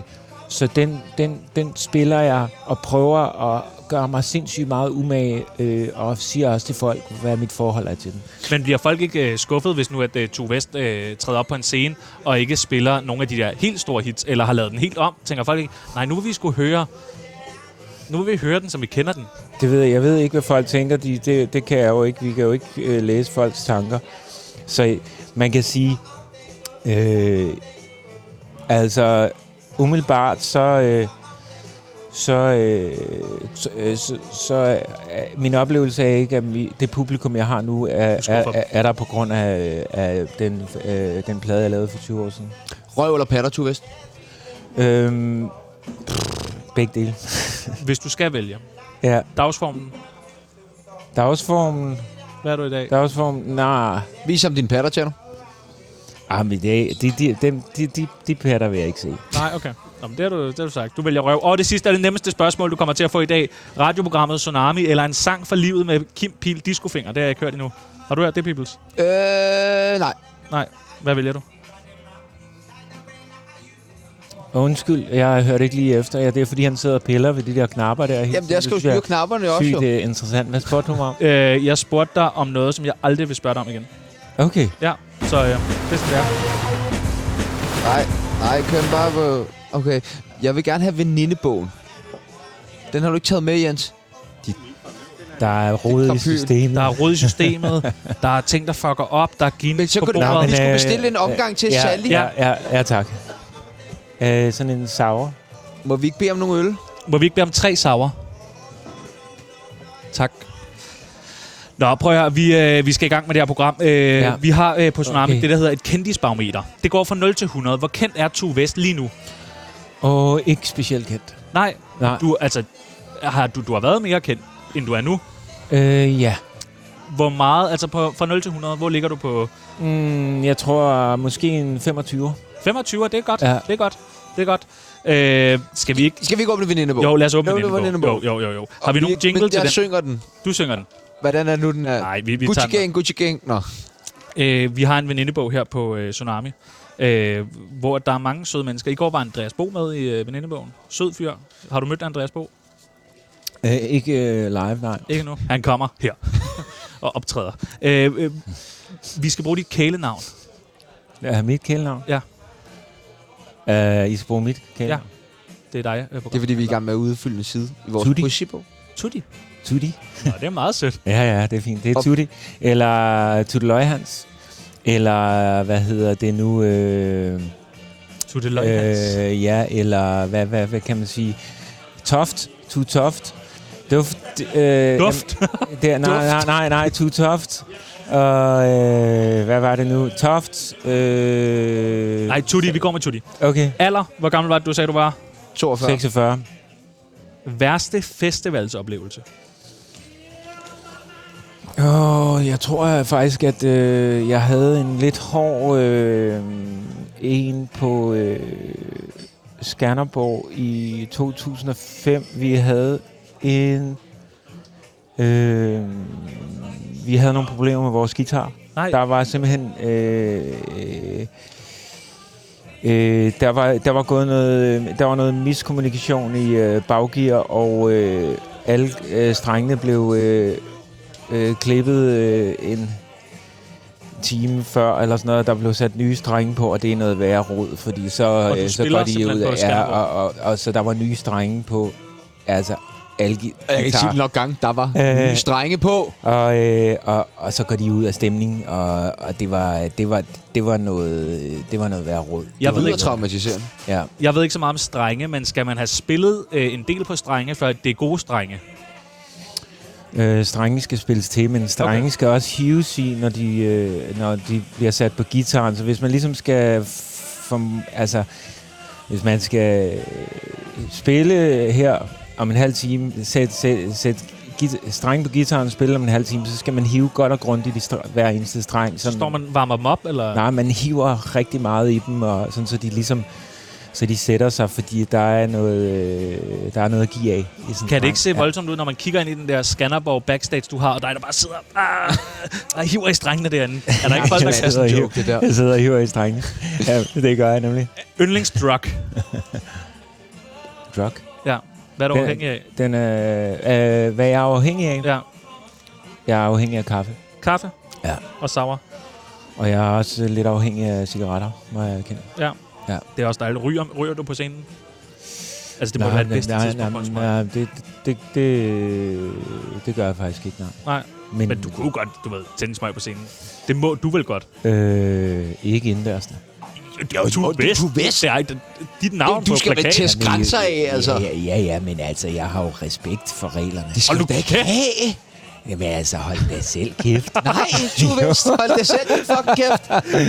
Speaker 5: så den, den, den spiller jeg og prøver at gøre mig sindssygt meget umage, øh, og siger også til folk, hvad mit forhold er til den.
Speaker 2: men bliver folk ikke øh, skuffet, hvis nu at øh, Tue West øh, træder op på en scene, og ikke spiller nogle af de der helt store hits, eller har lavet den helt om? Tænker folk ikke, nej, nu vil vi skulle høre... Nu vil vi høre den, som vi kender den.
Speaker 5: Det ved jeg. jeg ved ikke, hvad folk tænker. De, det, det kan jeg jo ikke. Vi kan jo ikke øh, læse folks tanker. Så øh, man kan sige, øh, altså umiddelbart, så, øh, så, øh, så, øh, så, så er øh, min oplevelse er ikke, at vi, det publikum, jeg har nu, er, er,
Speaker 2: skuffer
Speaker 5: er, er der på grund af, af den, øh, den plade, jeg lavede for 20 år siden.
Speaker 3: Røv eller patter, Tue Vest?
Speaker 5: Øhm, pff, begge dele.
Speaker 2: Hvis du skal vælge.
Speaker 5: Ja,
Speaker 2: Dagsformen.
Speaker 5: dagsformen,
Speaker 2: Hvad er du i dag?
Speaker 5: dagsformen, nej.
Speaker 3: Vis ham din patter, Tjerno.
Speaker 5: Ah, men det, de, de, dem, de, de, de patter vil jeg ikke se.
Speaker 2: Nej, okay. Nå, men det, har du, det har du sagt. Du vælger røv. Og det sidste er det nemmeste spørgsmål, du kommer til at få i dag. Radioprogrammet Tsunami eller en sang for livet med Kim Pil Discofinger. Det har jeg ikke hørt endnu. Har du hørt det, Peoples?
Speaker 3: Øh, nej.
Speaker 2: Nej. Hvad vælger du?
Speaker 5: Undskyld, jeg hørte ikke lige efter. Ja, det er, fordi han sidder og piller ved de der knapper der. hele
Speaker 3: Jamen,
Speaker 5: tiden.
Speaker 3: jeg skal jo
Speaker 5: Det synes
Speaker 3: styre knapperne også, jo.
Speaker 5: Sygt øh, interessant. Hvad spurgte du mig om?
Speaker 2: Øh, jeg spurgte dig om noget, som jeg aldrig vil spørge dig om igen.
Speaker 5: Okay.
Speaker 2: Ja, så øh, det skal være.
Speaker 3: Nej, nej, køn bare på... Okay, jeg vil gerne have venindebogen. Den har du ikke taget med, Jens.
Speaker 5: Der er rodet i
Speaker 3: Krapyl.
Speaker 5: systemet.
Speaker 2: Der er rød i systemet, der er ting, der fucker op, der er
Speaker 3: Men
Speaker 2: gin
Speaker 3: så
Speaker 2: på
Speaker 3: kunne det være, at
Speaker 2: bordet.
Speaker 3: vi
Speaker 5: men,
Speaker 3: skulle
Speaker 5: øh,
Speaker 3: bestille en omgang til
Speaker 5: ja,
Speaker 3: Sally.
Speaker 5: Ja, ja, ja, tak. Øh, sådan en sour.
Speaker 3: Må vi ikke bede om nogle øl?
Speaker 2: Må vi ikke bede om tre sauer? Tak. Nå, prøv at høre. Vi, øh, vi skal i gang med det her program. Øh, ja. Vi har øh, på Tsunami okay.
Speaker 5: Okay.
Speaker 2: det, der hedder et kendisbarometer. Det går fra 0 til 100. Hvor kendt er Tue Vest lige nu?
Speaker 5: Og ikke specielt kendt.
Speaker 2: Nej,
Speaker 5: Nej.
Speaker 2: du, altså, har, du, du har været mere kendt, end du er nu.
Speaker 5: Øh, ja.
Speaker 2: Hvor meget, altså på, fra 0 til 100, hvor ligger du på?
Speaker 5: Mm, jeg tror måske en 25.
Speaker 2: 25, det er godt. Ja.
Speaker 5: Ja.
Speaker 2: Det er godt. Det er godt. Øh, skal vi ikke...
Speaker 3: Skal vi ikke åbne venindebogen?
Speaker 2: Jo, lad os åbne
Speaker 3: Jo,
Speaker 2: den.
Speaker 3: det var
Speaker 2: Jo,
Speaker 3: Lindebog.
Speaker 2: jo, jo, jo. Har vi nogen jingle
Speaker 3: men
Speaker 2: til
Speaker 3: jeg
Speaker 2: den?
Speaker 3: synger den.
Speaker 2: Du synger den.
Speaker 3: Hvordan er nu den her?
Speaker 2: Nej, vi, vi tager
Speaker 3: Gucci
Speaker 2: den.
Speaker 3: Gang, Gucci Gang. Nå.
Speaker 2: Øh, vi har en venindebog her på øh, Tsunami, øh, hvor der er mange søde mennesker. I går var Andreas Bo med i øh, venindebogen. Sød fyr. Har du mødt Andreas Bo?
Speaker 5: Øh, ikke øh, live, nej.
Speaker 2: Ikke nu. Han kommer her og optræder. Øh, øh, vi skal bruge dit kælenavn.
Speaker 5: Er mit kælenavn?
Speaker 2: Ja.
Speaker 5: Øh, I skal bruge mit kælenavn?
Speaker 2: Det er dig. Øh, på
Speaker 3: Det er, fordi vi er i gang med at udfylde en side i vores
Speaker 5: Tutti.
Speaker 3: poesibog.
Speaker 2: Tutti.
Speaker 5: Tutti.
Speaker 2: Nå, det er meget sødt.
Speaker 5: Ja, ja, det er fint. Det er
Speaker 3: Og-
Speaker 5: Tutti. Eller Tutti Løghans. Eller hvad hedder det nu? Øh,
Speaker 2: Tutte Løgnhals.
Speaker 5: Øh, ja, eller hvad, hvad, hvad kan man sige? Toft. Tu Toft. Duft. Øh,
Speaker 2: Duft.
Speaker 5: jamen, Det, er- nej, nej, nej, nej. Tu Toft. Og øh, hvad var det nu? Toft. Øh,
Speaker 2: Nej, Tutti, vi går med Tutti.
Speaker 5: Okay.
Speaker 2: Alder, hvor gammel var det, du sagde, du var?
Speaker 3: 42.
Speaker 5: 46.
Speaker 2: Værste festivalsoplevelse.
Speaker 5: Åh, jeg tror jeg faktisk, at øh, jeg havde en lidt hård øh, en på øh, Skanderborg i 2005. Vi havde en... Øh, vi havde nogle problemer med vores guitar.
Speaker 2: Nej.
Speaker 5: Der var simpelthen... Øh, øh, Øh, der, var, der var gået noget, øh, der var noget miskommunikation i øh, baggear, og øh, alle øh, strengene blev øh, øh, klippet øh, en time før, eller sådan noget, der blev sat nye strenge på, og det er noget værre råd, fordi så,
Speaker 2: du
Speaker 5: øh, så
Speaker 2: spiller
Speaker 5: går de
Speaker 2: simpelthen
Speaker 5: ud
Speaker 2: på
Speaker 5: af, ja,
Speaker 2: Skanderborg.
Speaker 5: og, og, og, så der var nye strenge på, altså algi.
Speaker 3: Jeg kan ikke sige det nok gange. Der var
Speaker 5: Øh.
Speaker 3: nye strenge på.
Speaker 5: Og, øh, og, og så går de ud af stemningen, og, og det, var, det, var, det var noget, det var noget værre råd.
Speaker 2: Jeg
Speaker 3: Det
Speaker 2: ved,
Speaker 3: lyder
Speaker 2: ikke,
Speaker 3: traumatiserende.
Speaker 5: Ja.
Speaker 2: jeg ved ikke så meget om strenge, men skal man have spillet øh, en del på strenge, før det er gode strenge?
Speaker 5: Øh, strenge skal spilles til, men strenge okay. skal også hives i, når de, øh, når de bliver sat på gitaren. Så hvis man ligesom skal... Form, altså, hvis man skal øh, spille her om en halv time, sætte sæt, sæt git- streng på gitaren og spille om en halv time, så skal man hive godt og grundigt i str- hver eneste streng.
Speaker 2: Så står man varmer dem op, eller?
Speaker 5: Nej, man hiver rigtig meget i dem, og sådan, så de ligesom så de sætter sig, fordi der er noget, øh, der er noget at give af. I sådan en
Speaker 2: Kan det
Speaker 5: streng.
Speaker 2: ikke se voldsomt ud, når man kigger ind i den der Skanderborg backstage, du har, og dig, der bare sidder ah, og hiver i strengene derinde? Er der ikke folk, der
Speaker 5: jeg
Speaker 2: kan...
Speaker 5: sidder, og hiver,
Speaker 3: joke, det der.
Speaker 5: jeg sidder og hiver i strengene. ja, det gør jeg nemlig.
Speaker 2: Yndlingsdrug.
Speaker 5: Drug.
Speaker 2: Hvad er du
Speaker 5: Den-
Speaker 2: afhængig af?
Speaker 5: Den, øh, øh, hvad jeg er afhængig af?
Speaker 2: Ja.
Speaker 5: Jeg er afhængig af kaffe.
Speaker 2: Kaffe?
Speaker 5: Ja.
Speaker 2: Og sour?
Speaker 5: Og jeg er også lidt afhængig af cigaretter, må jeg erkende.
Speaker 2: Det er også dejligt. Ryger, ryger du på scenen? Altså, det må
Speaker 5: Nej,
Speaker 2: være det
Speaker 5: men-
Speaker 2: bedste
Speaker 5: nej,
Speaker 2: tidspunkt for
Speaker 5: nej,
Speaker 2: en smøg.
Speaker 5: nej, det, det, det, det gør jeg faktisk ikke, nej.
Speaker 2: Nej.
Speaker 5: Men,
Speaker 2: Men du kunne godt, du ved, tænde en smøg på scenen. Det må du vel godt.
Speaker 5: Øh, ikke indendørs. nej.
Speaker 2: Det er jo
Speaker 3: jo,
Speaker 2: du
Speaker 3: det er
Speaker 2: bedst.
Speaker 3: du bedst.
Speaker 2: Det er ikke dit navn
Speaker 3: Du
Speaker 2: på
Speaker 3: skal vel
Speaker 2: plakaten.
Speaker 3: teste grænser af, altså.
Speaker 5: øh, Ja, ja, ja, men altså, jeg har jo respekt for reglerne.
Speaker 3: Det skal
Speaker 2: Hold
Speaker 3: du
Speaker 2: nu
Speaker 3: da ikke
Speaker 2: kæft.
Speaker 3: have.
Speaker 5: Jamen altså, hold da selv kæft.
Speaker 3: Nej, du er vist. Hold det selv, din fucking kæft.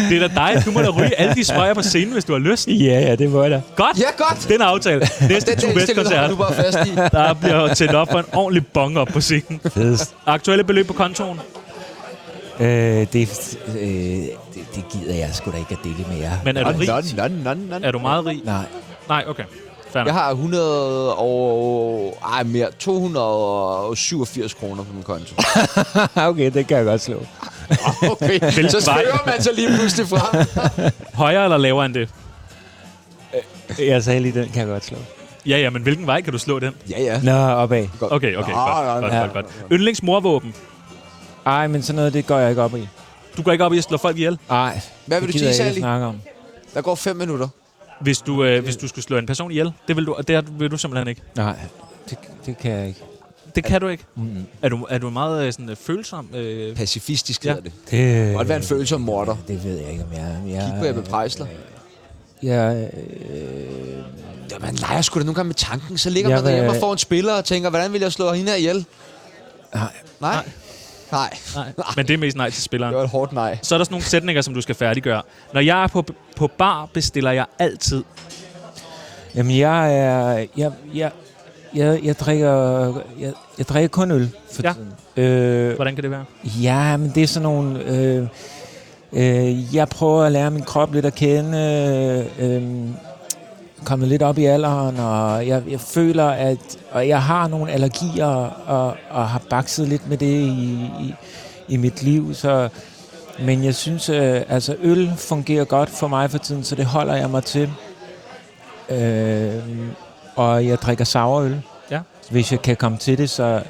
Speaker 2: Det er da dig. Du må da ryge alle de smøger på scenen, hvis du har lyst.
Speaker 5: ja, ja, det må jeg da.
Speaker 2: Godt.
Speaker 3: Ja, godt.
Speaker 2: Den aftale. Næste
Speaker 3: Den
Speaker 2: to bedst
Speaker 3: indstilling har
Speaker 2: koncert.
Speaker 3: du bare fast i.
Speaker 2: Der bliver tændt op for en ordentlig bong op på scenen.
Speaker 5: Fedest.
Speaker 2: Aktuelle beløb på kontoen.
Speaker 5: Øh, det, øh, det, det gider jeg sgu da ikke at dele med jer.
Speaker 2: Men er du rig?
Speaker 3: Nå, nå, nå, nå, nå.
Speaker 2: Er du meget rig?
Speaker 5: Nej.
Speaker 2: Nej, okay.
Speaker 3: Jeg
Speaker 2: Færdig.
Speaker 3: har 100 og... Ej, mere. 287 kroner på min konto.
Speaker 5: okay, det kan jeg godt slå.
Speaker 3: Okay, så skriver man så lige pludselig fra.
Speaker 2: Højere eller lavere end det?
Speaker 5: Jeg sagde lige, den kan jeg godt slå.
Speaker 2: Ja, ja, men hvilken vej kan du slå den?
Speaker 3: Ja, ja.
Speaker 5: Nå, opad.
Speaker 2: Okay, okay.
Speaker 3: Nå,
Speaker 2: Godt,
Speaker 3: nå,
Speaker 2: godt,
Speaker 3: nå.
Speaker 2: godt, godt. Yndlingsmorvåben.
Speaker 5: Ej, men sådan noget, det går jeg ikke op i.
Speaker 2: Du går ikke op i at slå folk ihjel.
Speaker 5: Ej,
Speaker 3: Hvad vil
Speaker 5: det
Speaker 3: du sige,
Speaker 5: gider jeg ikke
Speaker 3: Sally?
Speaker 5: snakke om.
Speaker 3: Der går fem minutter.
Speaker 2: Hvis du, øh, hvis du skulle slå en person ihjel, det vil du, og det har- vil du simpelthen ikke.
Speaker 5: Nej, det, det kan jeg ikke.
Speaker 2: Det kan du ikke. Er du, er du meget øh, sådan, øh, følsom? Øh,
Speaker 3: Pacifistisk
Speaker 2: Ja.
Speaker 3: hedder det.
Speaker 5: Det,
Speaker 3: Det måtte være en følelse om morter.
Speaker 5: det ved jeg ikke, om jeg er. Jeg,
Speaker 3: Kig på Ebbe Preisler.
Speaker 5: jeg, øh,
Speaker 3: Ja, man leger sgu da nogle gange med tanken. Så ligger
Speaker 5: Jeg
Speaker 3: man derhjemme
Speaker 5: vil-
Speaker 3: og får en spiller og tænker, hvordan vil jeg slå hende her ihjel? Nej. Nej? Nej.
Speaker 2: nej. Men det er mest nej til spilleren.
Speaker 3: Det var et hårdt nej.
Speaker 5: Øh,
Speaker 2: Så er der sådan nogle sætninger, som du skal færdiggøre. Når jeg er på, på bar, bestiller jeg altid.
Speaker 5: jamen, jeg er... Jeg, jeg, jeg, jeg, drikker, jeg, jeg drikker kun øl for
Speaker 2: Ja.
Speaker 5: tiden. Øh,
Speaker 2: Hvordan kan det være?
Speaker 5: Ja, men det er sådan nogle... Øh, øh, jeg prøver at lære min krop lidt at kende. Øh, øh, kommet lidt op i alderen, og jeg, jeg føler, at og jeg har nogle allergier, og, og har bakset lidt med det i, i, i mit liv, så... Men jeg synes, øh, altså øl fungerer godt for mig for tiden, så det holder jeg mig til. Øh, og jeg drikker sauerøl,
Speaker 2: Ja.
Speaker 5: hvis jeg kan komme til det, så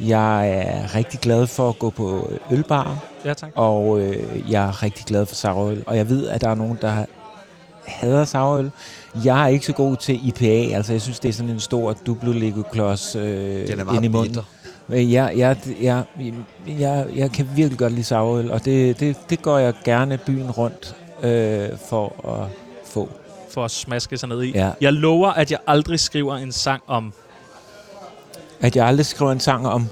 Speaker 5: jeg er rigtig glad for at gå på ølbar,
Speaker 2: Ja, tak.
Speaker 5: og øh, jeg er rigtig glad for sauerøl. Og jeg ved, at der er nogen, der hader sauerøl. Jeg er ikke så god til IPA, altså jeg synes, det er sådan en stor dublo-lego-klods øh,
Speaker 3: Den er
Speaker 5: ind i
Speaker 3: meget
Speaker 5: munden. Øh,
Speaker 3: bitter.
Speaker 5: Men Jeg, jeg, jeg, jeg, jeg kan virkelig godt lide sauerøl, og det, det, det går jeg gerne byen rundt øh, for at få.
Speaker 2: for at smaske sig ned i.
Speaker 5: Ja.
Speaker 2: Jeg lover, at jeg aldrig skriver en sang om...
Speaker 5: at jeg aldrig skriver en sang om.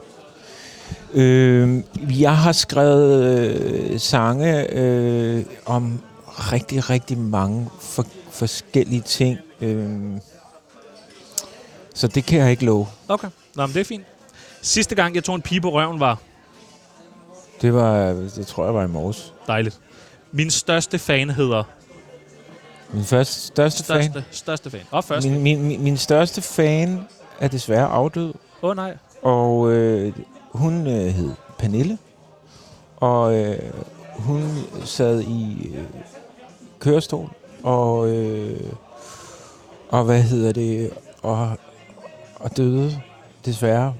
Speaker 5: Øh, jeg har skrevet øh, sange øh, om rigtig, rigtig mange for, forskellige ting. Øh, så det kan jeg ikke love.
Speaker 2: Okay, Nå, men det er fint. Sidste gang, jeg tog en pige på røven, var
Speaker 5: Det var, det tror jeg var i morges.
Speaker 2: dejligt. Min største fan hedder...
Speaker 5: Min første, største,
Speaker 2: Største, største fan. Og
Speaker 5: fan.
Speaker 2: første.
Speaker 5: Min, min, min, min største fan er desværre afdød.
Speaker 2: Åh oh, nej.
Speaker 5: Og øh, hun øh, hed Pernille, og øh, hun sad i øh, kørestol, og, øh, og hvad hedder det, og, og døde desværre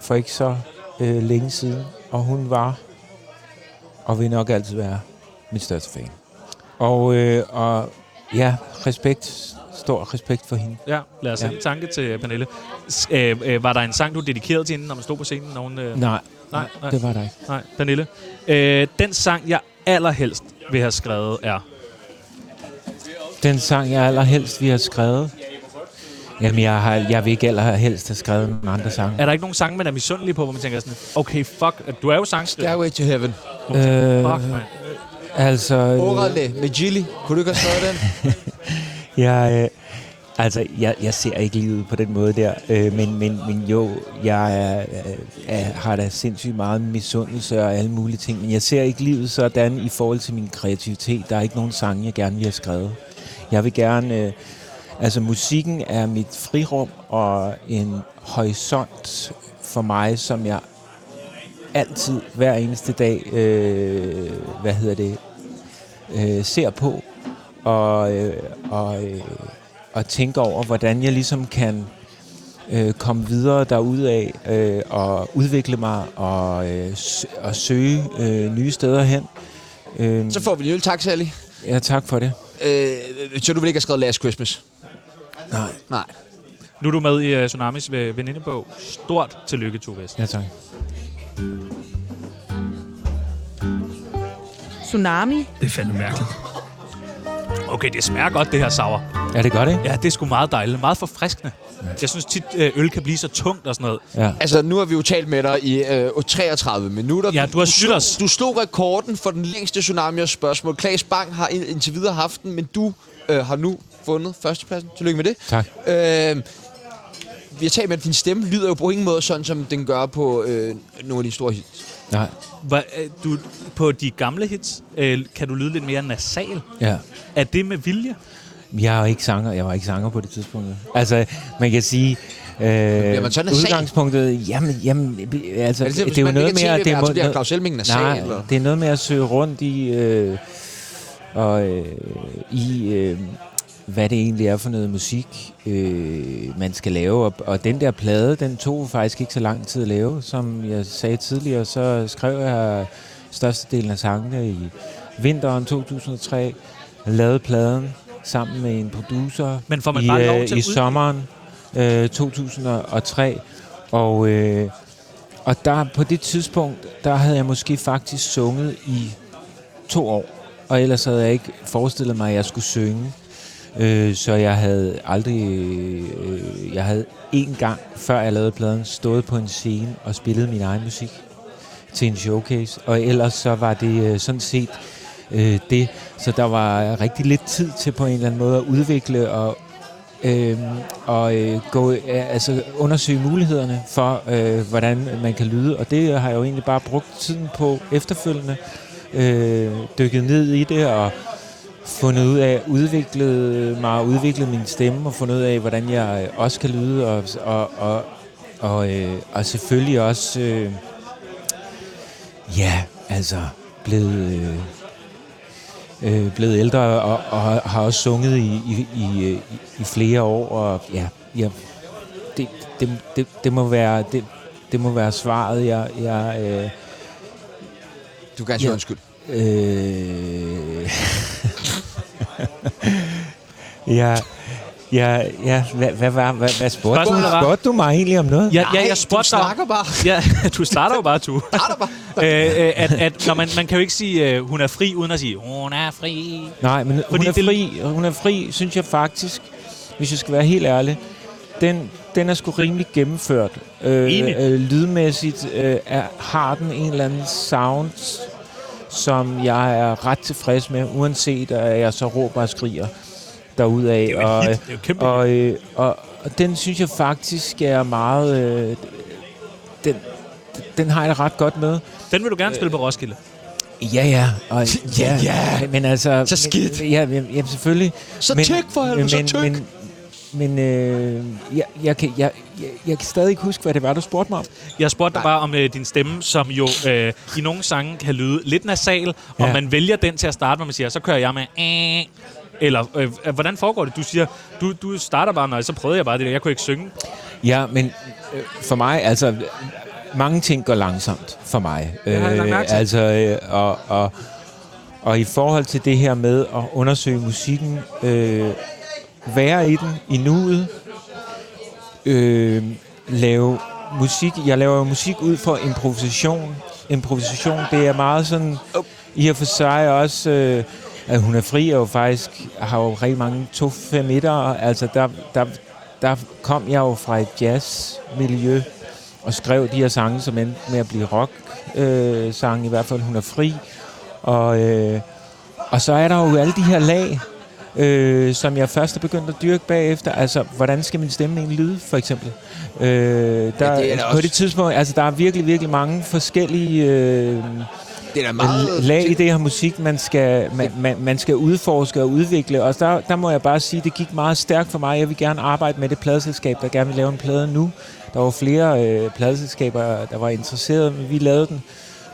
Speaker 5: for ikke så øh, længe siden. Og hun var, og vil nok altid være, min største fan. Og, øh, og ja, respekt, stor respekt for hende.
Speaker 2: Ja, lad os
Speaker 5: Ja.
Speaker 2: ja. en tanke til Pernille. S- øh, øh, var der en sang, du dedikerede til hende, når man stod på scenen? Når hun, øh...
Speaker 5: Nej,
Speaker 2: Nej, nej.
Speaker 5: det var der ikke.
Speaker 2: Nej, Pernille. Øh, den sang, jeg allerhelst vil have skrevet, er...
Speaker 5: Den sang, jeg allerhelst vi har skrevet. Jamen, jeg, har, jeg vil ikke allerhelst have skrevet nogle andre sange.
Speaker 2: Er der ikke nogen sange, man er misundelig på, hvor man tænker sådan, okay, fuck, du er jo sangskriver.
Speaker 3: Stairway to Heaven.
Speaker 5: Øh,
Speaker 2: Fuck, man.
Speaker 5: altså, øh,
Speaker 3: Orale med Gilly. Kunne du ikke have skrevet den?
Speaker 5: jeg, øh, altså jeg, jeg ser ikke livet på den måde der, øh, men, men, men jo, jeg er, øh, er, har da sindssygt meget misundelse og alle mulige ting, men jeg ser ikke livet sådan i forhold til min kreativitet. Der er ikke nogen sange, jeg gerne vil have skrevet. Jeg vil gerne... Øh, Altså musikken er mit frirum og en horisont for mig, som jeg altid, hver eneste dag, øh, hvad hedder det, øh, ser på og, øh, og, øh, og tænker over, hvordan jeg ligesom kan øh, komme videre derudad øh, og udvikle mig og, øh, sø- og søge øh, nye steder hen. Øh,
Speaker 3: Så får vi en øl. Tak, Sally.
Speaker 5: ja, tak for det.
Speaker 3: Øh, så du vil ikke have skrevet Last Christmas?
Speaker 5: Nej.
Speaker 3: Nej.
Speaker 2: Nu er du med i uh, Tsunamis ve- venindebog. Stort tillykke, Tove Vest.
Speaker 5: Ja, tak.
Speaker 8: Tsunami.
Speaker 2: Det er fandme mærkeligt. Okay, det smager godt, det her sauer.
Speaker 5: Er det godt, ikke?
Speaker 2: Ja, det er sgu meget dejligt. Meget forfriskende. Jeg synes tit, øh, øl kan blive så tungt og sådan noget.
Speaker 5: Ja.
Speaker 3: Altså, nu har vi jo talt med dig i øh, 33 minutter.
Speaker 2: Ja, du har snydt
Speaker 3: slog-
Speaker 2: os.
Speaker 3: Altså, Du slog rekorden for den længste tsunami af spørgsmål. Klaas Bang har ind- indtil videre haft den, men du øh, har nu fundet førstepladsen. Tillykke med det.
Speaker 5: Tak.
Speaker 3: Øh, vi har talt med, at din stemme lyder jo på ingen måde sådan, som den gør på øh, nogle af de store hits.
Speaker 5: Nej.
Speaker 2: Hva, øh, du, på de gamle hits øh, kan du lyde lidt mere nasal.
Speaker 5: Ja.
Speaker 2: Er det med vilje?
Speaker 5: Jeg var ikke sanger, jeg var ikke sanger på det tidspunkt. jo. Altså, man kan sige... Øh,
Speaker 3: man så nasal?
Speaker 5: udgangspunktet, jamen, jamen, altså,
Speaker 3: Er det, det, hvis
Speaker 5: det er jo
Speaker 3: man
Speaker 5: noget
Speaker 3: ikke
Speaker 5: med,
Speaker 3: er
Speaker 5: at det er
Speaker 3: tv-vært, så
Speaker 5: må-
Speaker 3: bliver
Speaker 5: noget-
Speaker 3: Claus Elming nasal,
Speaker 5: Nej,
Speaker 3: eller?
Speaker 5: det er noget med at søge rundt i, øh, og, øh, i øh, hvad det egentlig er for noget musik, øh, man skal lave. Og, og den der plade, den tog faktisk ikke så lang tid at lave. Som jeg sagde tidligere, så skrev jeg størstedelen af sangene i vinteren 2003. Lavede pladen sammen med en producer
Speaker 2: Men får man
Speaker 5: i,
Speaker 2: bare lov
Speaker 5: øh,
Speaker 2: til at
Speaker 5: i
Speaker 2: udgive?
Speaker 5: sommeren øh, 2003. Og... Øh, og der, på det tidspunkt, der havde jeg måske faktisk sunget i to år. Og ellers havde jeg ikke forestillet mig, at jeg skulle synge. Øh, så jeg havde aldrig... Øh, jeg havde en gang, før jeg lavede pladen, stået på en scene og spillet min egen musik til en showcase. Og ellers så var det øh, sådan set øh, det. Så der var rigtig lidt tid til på en eller anden måde at udvikle og øhm, og øh, gå, øh, altså undersøge mulighederne for, øh, hvordan man kan lyde. Og det har jeg jo egentlig bare brugt tiden på efterfølgende. Øh, dykket ned i det og fundet ud af, udviklet mig, udviklet min stemme og fundet ud af, hvordan jeg øh, også kan lyde. Og, og, og, og, øh, og selvfølgelig også, øh, ja, altså blevet... Øh, øh, blevet ældre og, og har- har også sunget i, i, i, øh, i- i flere år. Og ja, ja det, det, det, det, må være, det, det må være svaret. Jeg, jeg, øh,
Speaker 3: Du kan gerne sige
Speaker 5: Ja.
Speaker 3: undskyld.
Speaker 5: øh, jeg, Ja, ja. Hvad, hvad, hvad, hvad, hvad spurgte,
Speaker 2: Spørgsmålet var-
Speaker 5: du, spurgte du mig egentlig om noget?
Speaker 2: Ja, ja,
Speaker 3: Ej,
Speaker 2: jeg spurgte
Speaker 3: du
Speaker 2: dig-
Speaker 3: snakker bare.
Speaker 2: Ja, du starter jo bare, du.
Speaker 3: Starter bare.
Speaker 2: øh, øh, at, at, når man, man kan jo ikke sige, øh, hun er fri, uden at sige, hun er fri.
Speaker 5: Nej, men
Speaker 2: Fordi
Speaker 5: hun er,
Speaker 2: det-
Speaker 5: fri, hun er fri, synes jeg faktisk, hvis jeg skal være helt ærlig. Den, den er sgu rimelig gennemført. Øh,
Speaker 2: Enig.
Speaker 5: øh, lydmæssigt øh, er, har den en eller anden sound, som jeg er ret tilfreds med, uanset at jeg så råber og skriger derudad.
Speaker 2: Det er jo
Speaker 5: og,
Speaker 2: en
Speaker 5: øh,
Speaker 2: hit. Det er jo et kæmpe
Speaker 5: og, øh, og, og den synes jeg faktisk er meget... Øh, den, den har jeg det ret godt med.
Speaker 2: Den vil du gerne spille på Roskilde.
Speaker 5: Ja, ja. Og, ja,
Speaker 3: ja.
Speaker 5: Men altså...
Speaker 3: Så skidt.
Speaker 5: Men, ja, men- jamen, selvfølgelig.
Speaker 3: Så tyk for helvede, så tyk.
Speaker 5: Men, men øh, jeg, jeg, kan, jeg, jeg, jeg kan stadig ikke huske, hvad det var, du spurgte mig om.
Speaker 2: Jeg spurgte dig bare om øh, din stemme, som jo øh, i nogle sange kan lyde lidt nasal, og
Speaker 5: Ja.
Speaker 2: man vælger den til at starte, hvor man siger, så kører jeg med... "Æh." Eller, øh, øh, hvordan foregår det? Du siger, du, du starter bare, nej, så prøvede jeg bare det der. Jeg kunne ikke synge.
Speaker 5: Ja, men øh, for mig, altså... øh, Mange ting går langsomt for mig.
Speaker 2: Det har jeg lagt mærke til.
Speaker 5: altså, øh, og, og, og i forhold til det her med at undersøge musikken, øh, være i den, i nuet, øh, lave musik. Jeg laver jo musik ud fra improvisation. Improvisation, det er meget sådan, i og for sig også, øh, at hun er fri, og jo faktisk har jo rigtig mange to femitter. Altså, der, der, der kom jeg jo fra et jazzmiljø, og skrev de her sange, som endte med at blive rock-sange, øh, sange. i hvert fald Hun er fri. Og, øh, og så er der jo alle de her lag, øh, som jeg først er begyndt at dyrke bagefter. Altså, hvordan skal min stemme egentlig lyde, for eksempel? Øh, der, ja,
Speaker 3: det
Speaker 5: det
Speaker 3: er da
Speaker 5: på
Speaker 3: også-
Speaker 5: det tidspunkt, altså, der er virkelig, virkelig mange forskellige øh,
Speaker 3: Det er da meget...
Speaker 5: lag i det her musik, man skal, man, man, man skal udforske og udvikle. Og der, der må jeg bare sige, det gik meget stærkt for mig. Jeg vil gerne arbejde med det pladeselskab, der gerne vil lave en plade nu. Der var flere øh, pladeselskaber, der var interesserede, men vi lavede den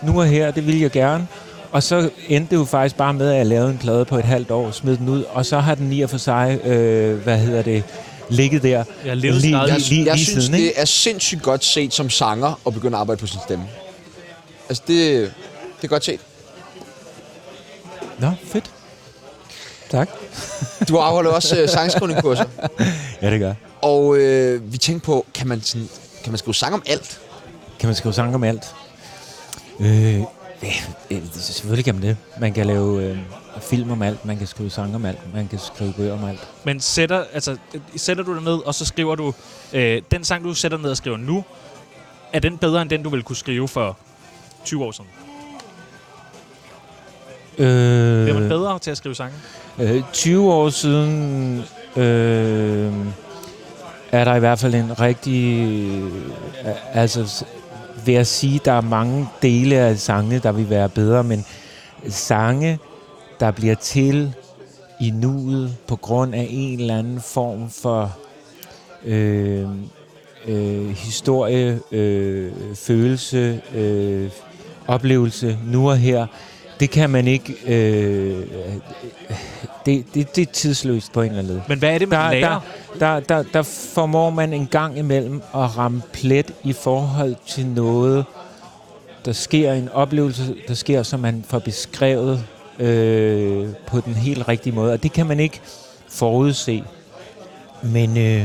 Speaker 5: nu og her, det ville jeg gerne. Og så endte det jo faktisk bare med, at jeg lavede en plade på et halvt år, smed den ud, og så har den i og for sig, øh, hvad hedder det, ligget der.
Speaker 2: Ja, levet sit eget
Speaker 5: lige,
Speaker 2: liv.
Speaker 3: Jeg,
Speaker 5: lige,
Speaker 3: jeg
Speaker 5: lige
Speaker 3: synes,
Speaker 5: siden, ikke?
Speaker 3: det er sindssygt godt set som sanger at begynde at arbejde på sin stemme. Altså, det, det er godt set.
Speaker 5: Nå, fedt. Tak.
Speaker 3: Du afholder også øh, sangskrivningskurser.
Speaker 5: Ja, det gør
Speaker 3: Og øh, vi tænkte på, kan man, sådan, kan man skrive sang om alt?
Speaker 5: Kan man skrive sange om alt? Øh, øh, øh, selvfølgelig kan man det. Man kan lave øh, film om alt, man kan skrive sange om alt, man kan skrive bøger om alt.
Speaker 2: Men sætter, altså, øh, sætter du dig ned, og så skriver du... Øh, den sang, du sætter ned og skriver nu, er den bedre end den, du ville kunne skrive for 20 år siden?
Speaker 5: Øh,
Speaker 2: Bliver man bedre til at skrive sange?
Speaker 5: Øh, 20 år siden øh, er der i hvert fald en rigtig... Øh, altså, s- vil jeg sige, der er mange dele af sangene, der vil være bedre, men sange, der bliver til i nuet på grund af en eller anden form for øh, øh, historie, øh, følelse, øh, oplevelse nu og her, det kan man ikke... Øh, det, det, det er tidsløst på en eller anden lede.
Speaker 2: Men hvad er det, man
Speaker 5: Der,
Speaker 2: lærer?
Speaker 5: der, der, der, der formår man en gang imellem at ramme plet i forhold til noget, der sker en oplevelse, der sker, som man får beskrevet øh, på den helt rigtige måde. Og det kan man ikke forudse. Men, øh,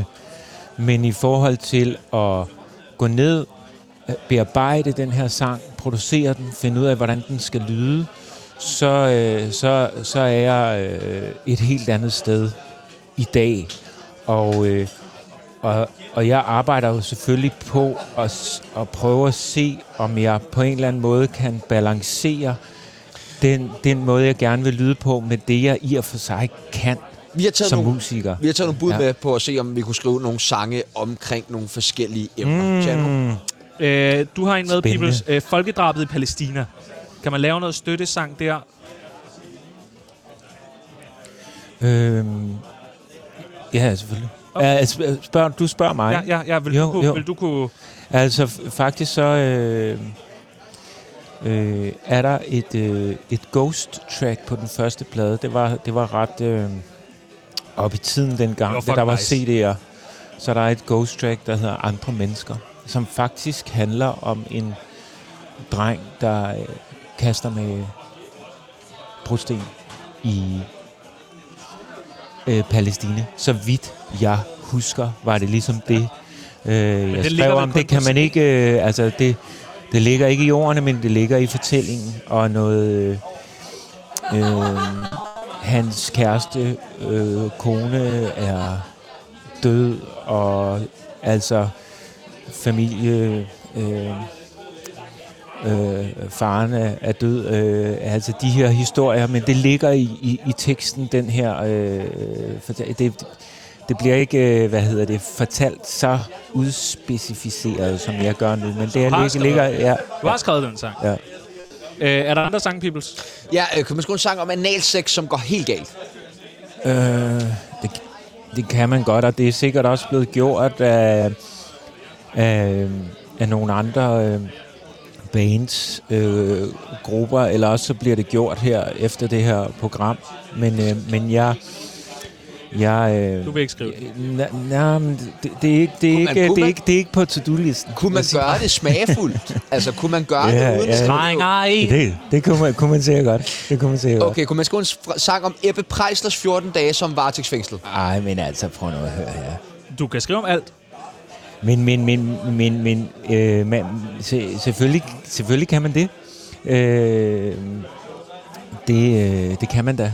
Speaker 5: men i forhold til at gå ned, øh, bearbejde den her sang, producere den, finde ud af, hvordan den skal lyde, så, øh, så, så er jeg øh, et helt andet sted i dag. Og, øh, og, og jeg arbejder jo selvfølgelig på at, s- at prøve at se, om jeg på en eller anden måde kan balancere den, den måde, jeg gerne vil lyde på, med det, jeg i og for sig kan
Speaker 3: Vi har taget
Speaker 5: som
Speaker 3: nogle,
Speaker 5: musiker.
Speaker 3: vi har taget nogle bud ja.
Speaker 5: Ja.
Speaker 3: med på at se, om vi kunne skrive nogle sange omkring nogle forskellige emner. Tjano.
Speaker 2: Øh, du har en med,
Speaker 5: Spændende.
Speaker 2: Peoples. Øh, folkedrabet i Palæstina. Kan man lave noget støttesang der?
Speaker 5: Øhm, ja, selvfølgelig. Okay. Ja, spørg, du spørger mig.
Speaker 2: Ja, ja, ja. Vil,
Speaker 5: Jo,
Speaker 2: du kunne,
Speaker 5: jo.
Speaker 2: vil du kunne...
Speaker 5: Altså f- faktisk så øh, øh, er der et, øh, et ghost track på den første plade. Det var, det var ret øh, op i tiden
Speaker 2: Det var
Speaker 5: dengang, da
Speaker 2: fucking
Speaker 5: der var
Speaker 2: nice.
Speaker 5: CD'er. Så der er et ghost track, der hedder Andre Mennesker, som faktisk handler om en dreng, der øh, kaster med brosten i øh, Palæstina. Så vidt jeg husker, var det ligesom det, øh, jeg
Speaker 2: det ligger
Speaker 5: skrev
Speaker 2: vel
Speaker 5: om.
Speaker 2: kun
Speaker 5: Det kan
Speaker 2: på
Speaker 5: man ikke... Øh, altså, det, det ligger ikke i ordene, men det ligger i fortællingen. Og noget... Øh, øh, hans kæreste, øh, kone, er død, og altså familie... Øh, øh, faren er, er død. Øh, altså de her historier, men det ligger i, i, i teksten, den her... Øh, fortæ- det, det bliver ikke, øh, hvad hedder det, fortalt så udspecificeret, som jeg gør nu, men det
Speaker 2: har
Speaker 5: ligger,
Speaker 2: skrevet
Speaker 5: ligger ja,
Speaker 2: Du har skrevet den sang.
Speaker 5: Ja.
Speaker 2: Øh, er der andre sange, Peoples?
Speaker 5: Mm.
Speaker 3: Ja, øh, kan man skrive en sang om analsex, som går helt galt?
Speaker 5: Øh, det, det kan man godt, og det er sikkert også blevet gjort af, af, af nogle andre øh, bands, øh, grupper, eller også så bliver det gjort her efter det her program. Men, øh, men jeg... jeg øh,
Speaker 2: Du vil ikke skrive det.
Speaker 5: Nej, nej, men det, det, er ikke, det, er
Speaker 3: Kunne man-
Speaker 5: ikke, det,
Speaker 3: kunne
Speaker 5: er
Speaker 3: man-
Speaker 5: ikke, det er ikke på to-do-listen.
Speaker 3: Kunne man gøre det smagfuldt? altså, kunne man gøre
Speaker 5: Ja,
Speaker 3: det uden
Speaker 5: ja.
Speaker 3: at skrive-
Speaker 2: Drenger i.
Speaker 5: Det, det kunne man, kunne man sikkert godt. Det kunne man sikkert
Speaker 3: Okay, kunne man skrive en fr- sang om Ebbe Preislers 14 dage som varetægtsfængslet?
Speaker 5: godt. Ej, men altså, prøv nu at høre her.
Speaker 2: Du kan skrive om alt.
Speaker 5: Men, men, men, men, men øh, man, se, selvfølgelig, selvfølgelig kan man det. Øh, det, øh, det kan man da.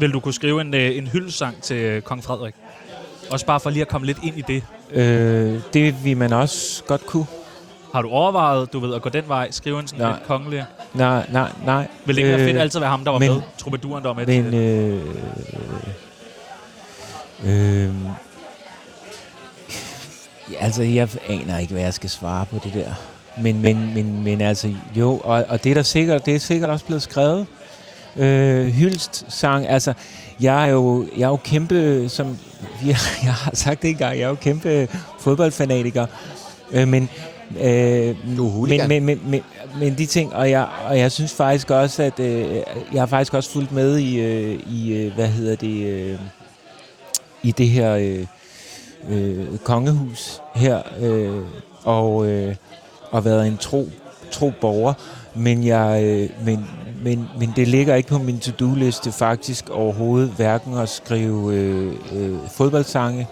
Speaker 2: Vil du kunne skrive en, øh, en hyldesang til øh, Kong Frederik? Også bare for lige at komme lidt ind i det.
Speaker 5: Øh, det vil man også godt kunne.
Speaker 2: Har du overvejet, du ved, at gå den vej? Skrive en sådan
Speaker 5: Nej.
Speaker 2: lidt kongelig?
Speaker 5: Nej, nej, nej. Øh,
Speaker 2: Vil det ikke være fedt altid at være ham, der var
Speaker 5: men-
Speaker 2: med? Troubaduren, der var med
Speaker 5: Men,
Speaker 2: til
Speaker 5: øh, øh, ja, altså, jeg aner ikke, hvad jeg skal svare på det der. Men, men, men, men altså, jo, og, og det, er der sikkert, det er sikkert også blevet skrevet. Øh, hyldst sang, altså, jeg er jo, jeg er jo kæmpe, som jeg, jeg har sagt det engang, jeg er jo kæmpe fodboldfanatiker. Øh, men, øh,
Speaker 3: Du er
Speaker 5: men,
Speaker 3: hooligan.
Speaker 5: men, men, men, men de ting, og jeg, og jeg synes faktisk også, at øh, jeg har faktisk også fulgt med i, øh, i øh, hvad hedder det, øh, i det her øh, øh, kongehus her, øh, og, øh, og været en tro, tro borger, men, jeg, øh, men, men, men det ligger ikke på min to-do-liste faktisk overhovedet, hverken at skrive øh, øh, fodboldsange,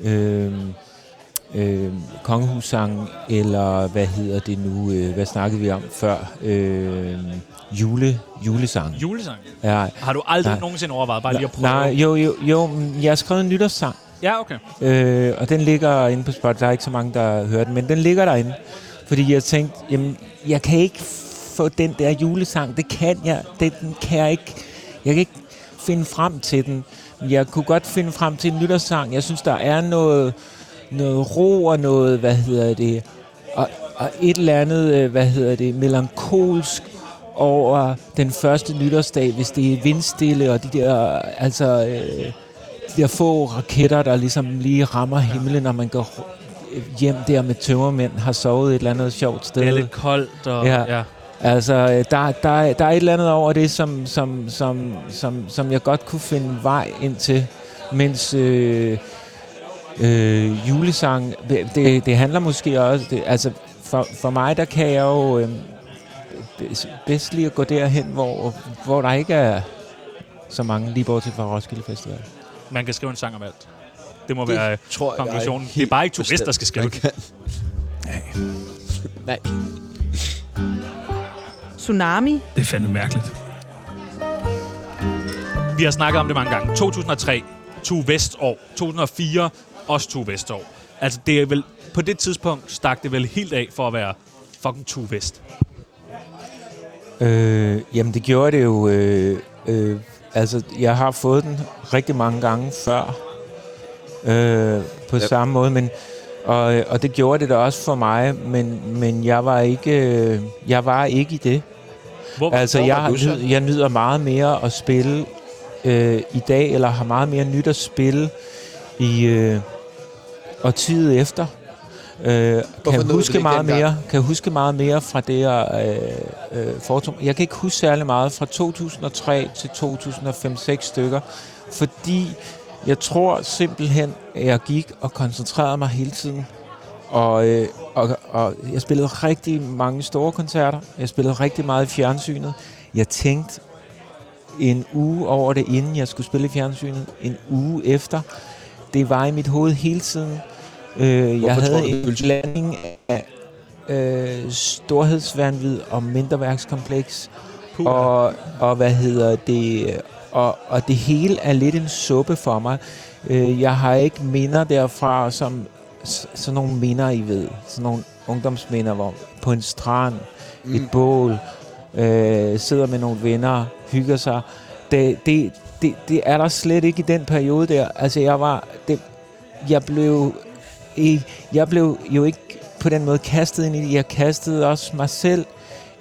Speaker 5: øh, øh, kongehussangen, eller hvad hedder det nu, øh, hvad snakkede vi om før, øh, jule, julesang.
Speaker 2: julesang?
Speaker 5: Ja,
Speaker 2: Har du aldrig
Speaker 5: øh, Nej.
Speaker 2: nogensinde overvejet bare lige at prøve?
Speaker 5: nej, jo, jo, jo, men jeg har skrevet en nytårssang,
Speaker 2: Ja, okay.
Speaker 5: øh, og den ligger inde på Spotify, der er ikke så mange, der hører den, men den ligger derinde, fordi jeg tænkte, jamen, jeg kan ikke få den der julesang, det kan jeg, det, den kan jeg ikke, jeg kan ikke finde frem til den. Jeg kunne godt finde frem til en nytårssang, jeg synes, der er noget, noget ro og noget, hvad hedder det, og, og et eller andet, øh, hvad hedder det, melankolsk over den første nytårsdag, hvis det er vindstille og de der, altså, øh, de der få raketter, der ligesom lige rammer himlen, når man går hjem der med tømmermænd, har sovet et eller andet sjovt sted.
Speaker 2: Det er lidt koldt, og ja.
Speaker 5: Øh, Ja.
Speaker 2: ja.
Speaker 5: Altså, øh, der, der, er- der er et eller andet over det, som, som, som, som, som jeg godt kunne finde vej ind til, mens øh, øh, julesang, det, det- det handler måske også, det, altså for, for mig, der kan jeg jo øh, bedst- bedst lige at gå derhen, hvor, hvor der ikke er så mange, lige bortset fra Roskilde Festival.
Speaker 2: Man kan skrive en sang om alt. Det må
Speaker 3: Det
Speaker 2: være øh,
Speaker 3: tror jeg
Speaker 2: konklusionen.
Speaker 3: helt
Speaker 2: Det er bare ikke turist,
Speaker 3: bestemt,
Speaker 2: der skal skrive
Speaker 3: man
Speaker 2: det.
Speaker 3: kan. Nej. Nej.
Speaker 8: Tsunami.
Speaker 9: Det er fandme mærkeligt.
Speaker 2: Vi har snakket om det mange gange. 2003, Tue Vestår. 2004, også Tue Vestår. Altså, det er vel, på det tidspunkt stak det vel helt af for at være fucking Tue Vest.
Speaker 5: Øh, jamen, det gjorde det jo. Øh, øh, altså, jeg har fået den rigtig mange gange før. Øh, på yep. samme måde, men... Og, øh, og det gjorde det da også for mig, men, men jeg var ikke øh, jeg var ikke i det.
Speaker 2: Hvor,
Speaker 5: Altså,
Speaker 3: hvor var
Speaker 5: jeg,
Speaker 3: du så?
Speaker 5: nyd, jeg nyder meget mere at spille øh, i dag, eller har meget mere nyt at spille i øh, og tid efter. Øh, kan
Speaker 3: nåede du det
Speaker 5: huske
Speaker 3: ikke
Speaker 5: meget
Speaker 3: dengang?
Speaker 5: mere, kan huske meget mere fra det her øh, øh, fortum. Jeg kan ikke huske særlig meget fra 2003 til 2005-6 stykker, fordi jeg tror simpelthen, at jeg gik og koncentrerede mig hele tiden. Og, øh, og, og jeg spillede rigtig mange store koncerter. Jeg spillede rigtig meget i fjernsynet. Jeg tænkte en uge over det, inden jeg skulle spille i fjernsynet. En uge efter. Det var i mit hoved hele tiden. Øh, jeg
Speaker 3: Hvorfor tror
Speaker 5: havde
Speaker 3: du, det
Speaker 5: en
Speaker 3: skyldes?
Speaker 5: blanding af øh, storhedsvandvid og mindreværkskompleks. Og, og hvad hedder det? Og, og det hele er lidt en suppe for mig. Øh, jeg har ikke minder derfra, som s- sådan nogle minder, I ved. Sådan nogle ungdomsminder, hvor på en strand, mm. et bål, øh, sidder med nogle venner, hygger sig. Det, det, det, det er der slet ikke i den periode der. Altså, jeg var... Det, jeg blev... I, jeg blev jo ikke på den måde kastet ind i det. Jeg kastede også mig selv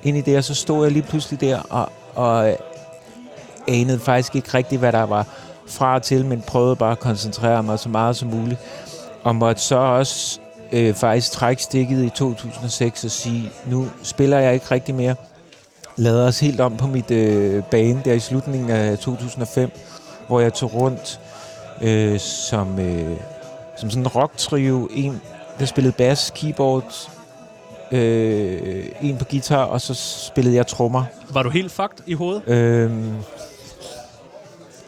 Speaker 5: ind i det, og så stod jeg lige pludselig der og, og øh, anede faktisk ikke rigtigt, hvad der var fra og til, men prøvede bare at koncentrere mig så meget som muligt. Og måtte så også øh, faktisk trække stikket i 2006 og sige, nu spiller jeg ikke rigtig mere. Lader os helt om på mit øh, bane der i slutningen af 2005, hvor jeg tog rundt øh, som, øh, som sådan en rocktrio. En, der spillede bass, keyboard, øh, en på guitar, og så spillede jeg trommer.
Speaker 2: Var du helt fucked i hovedet?
Speaker 5: Øhm,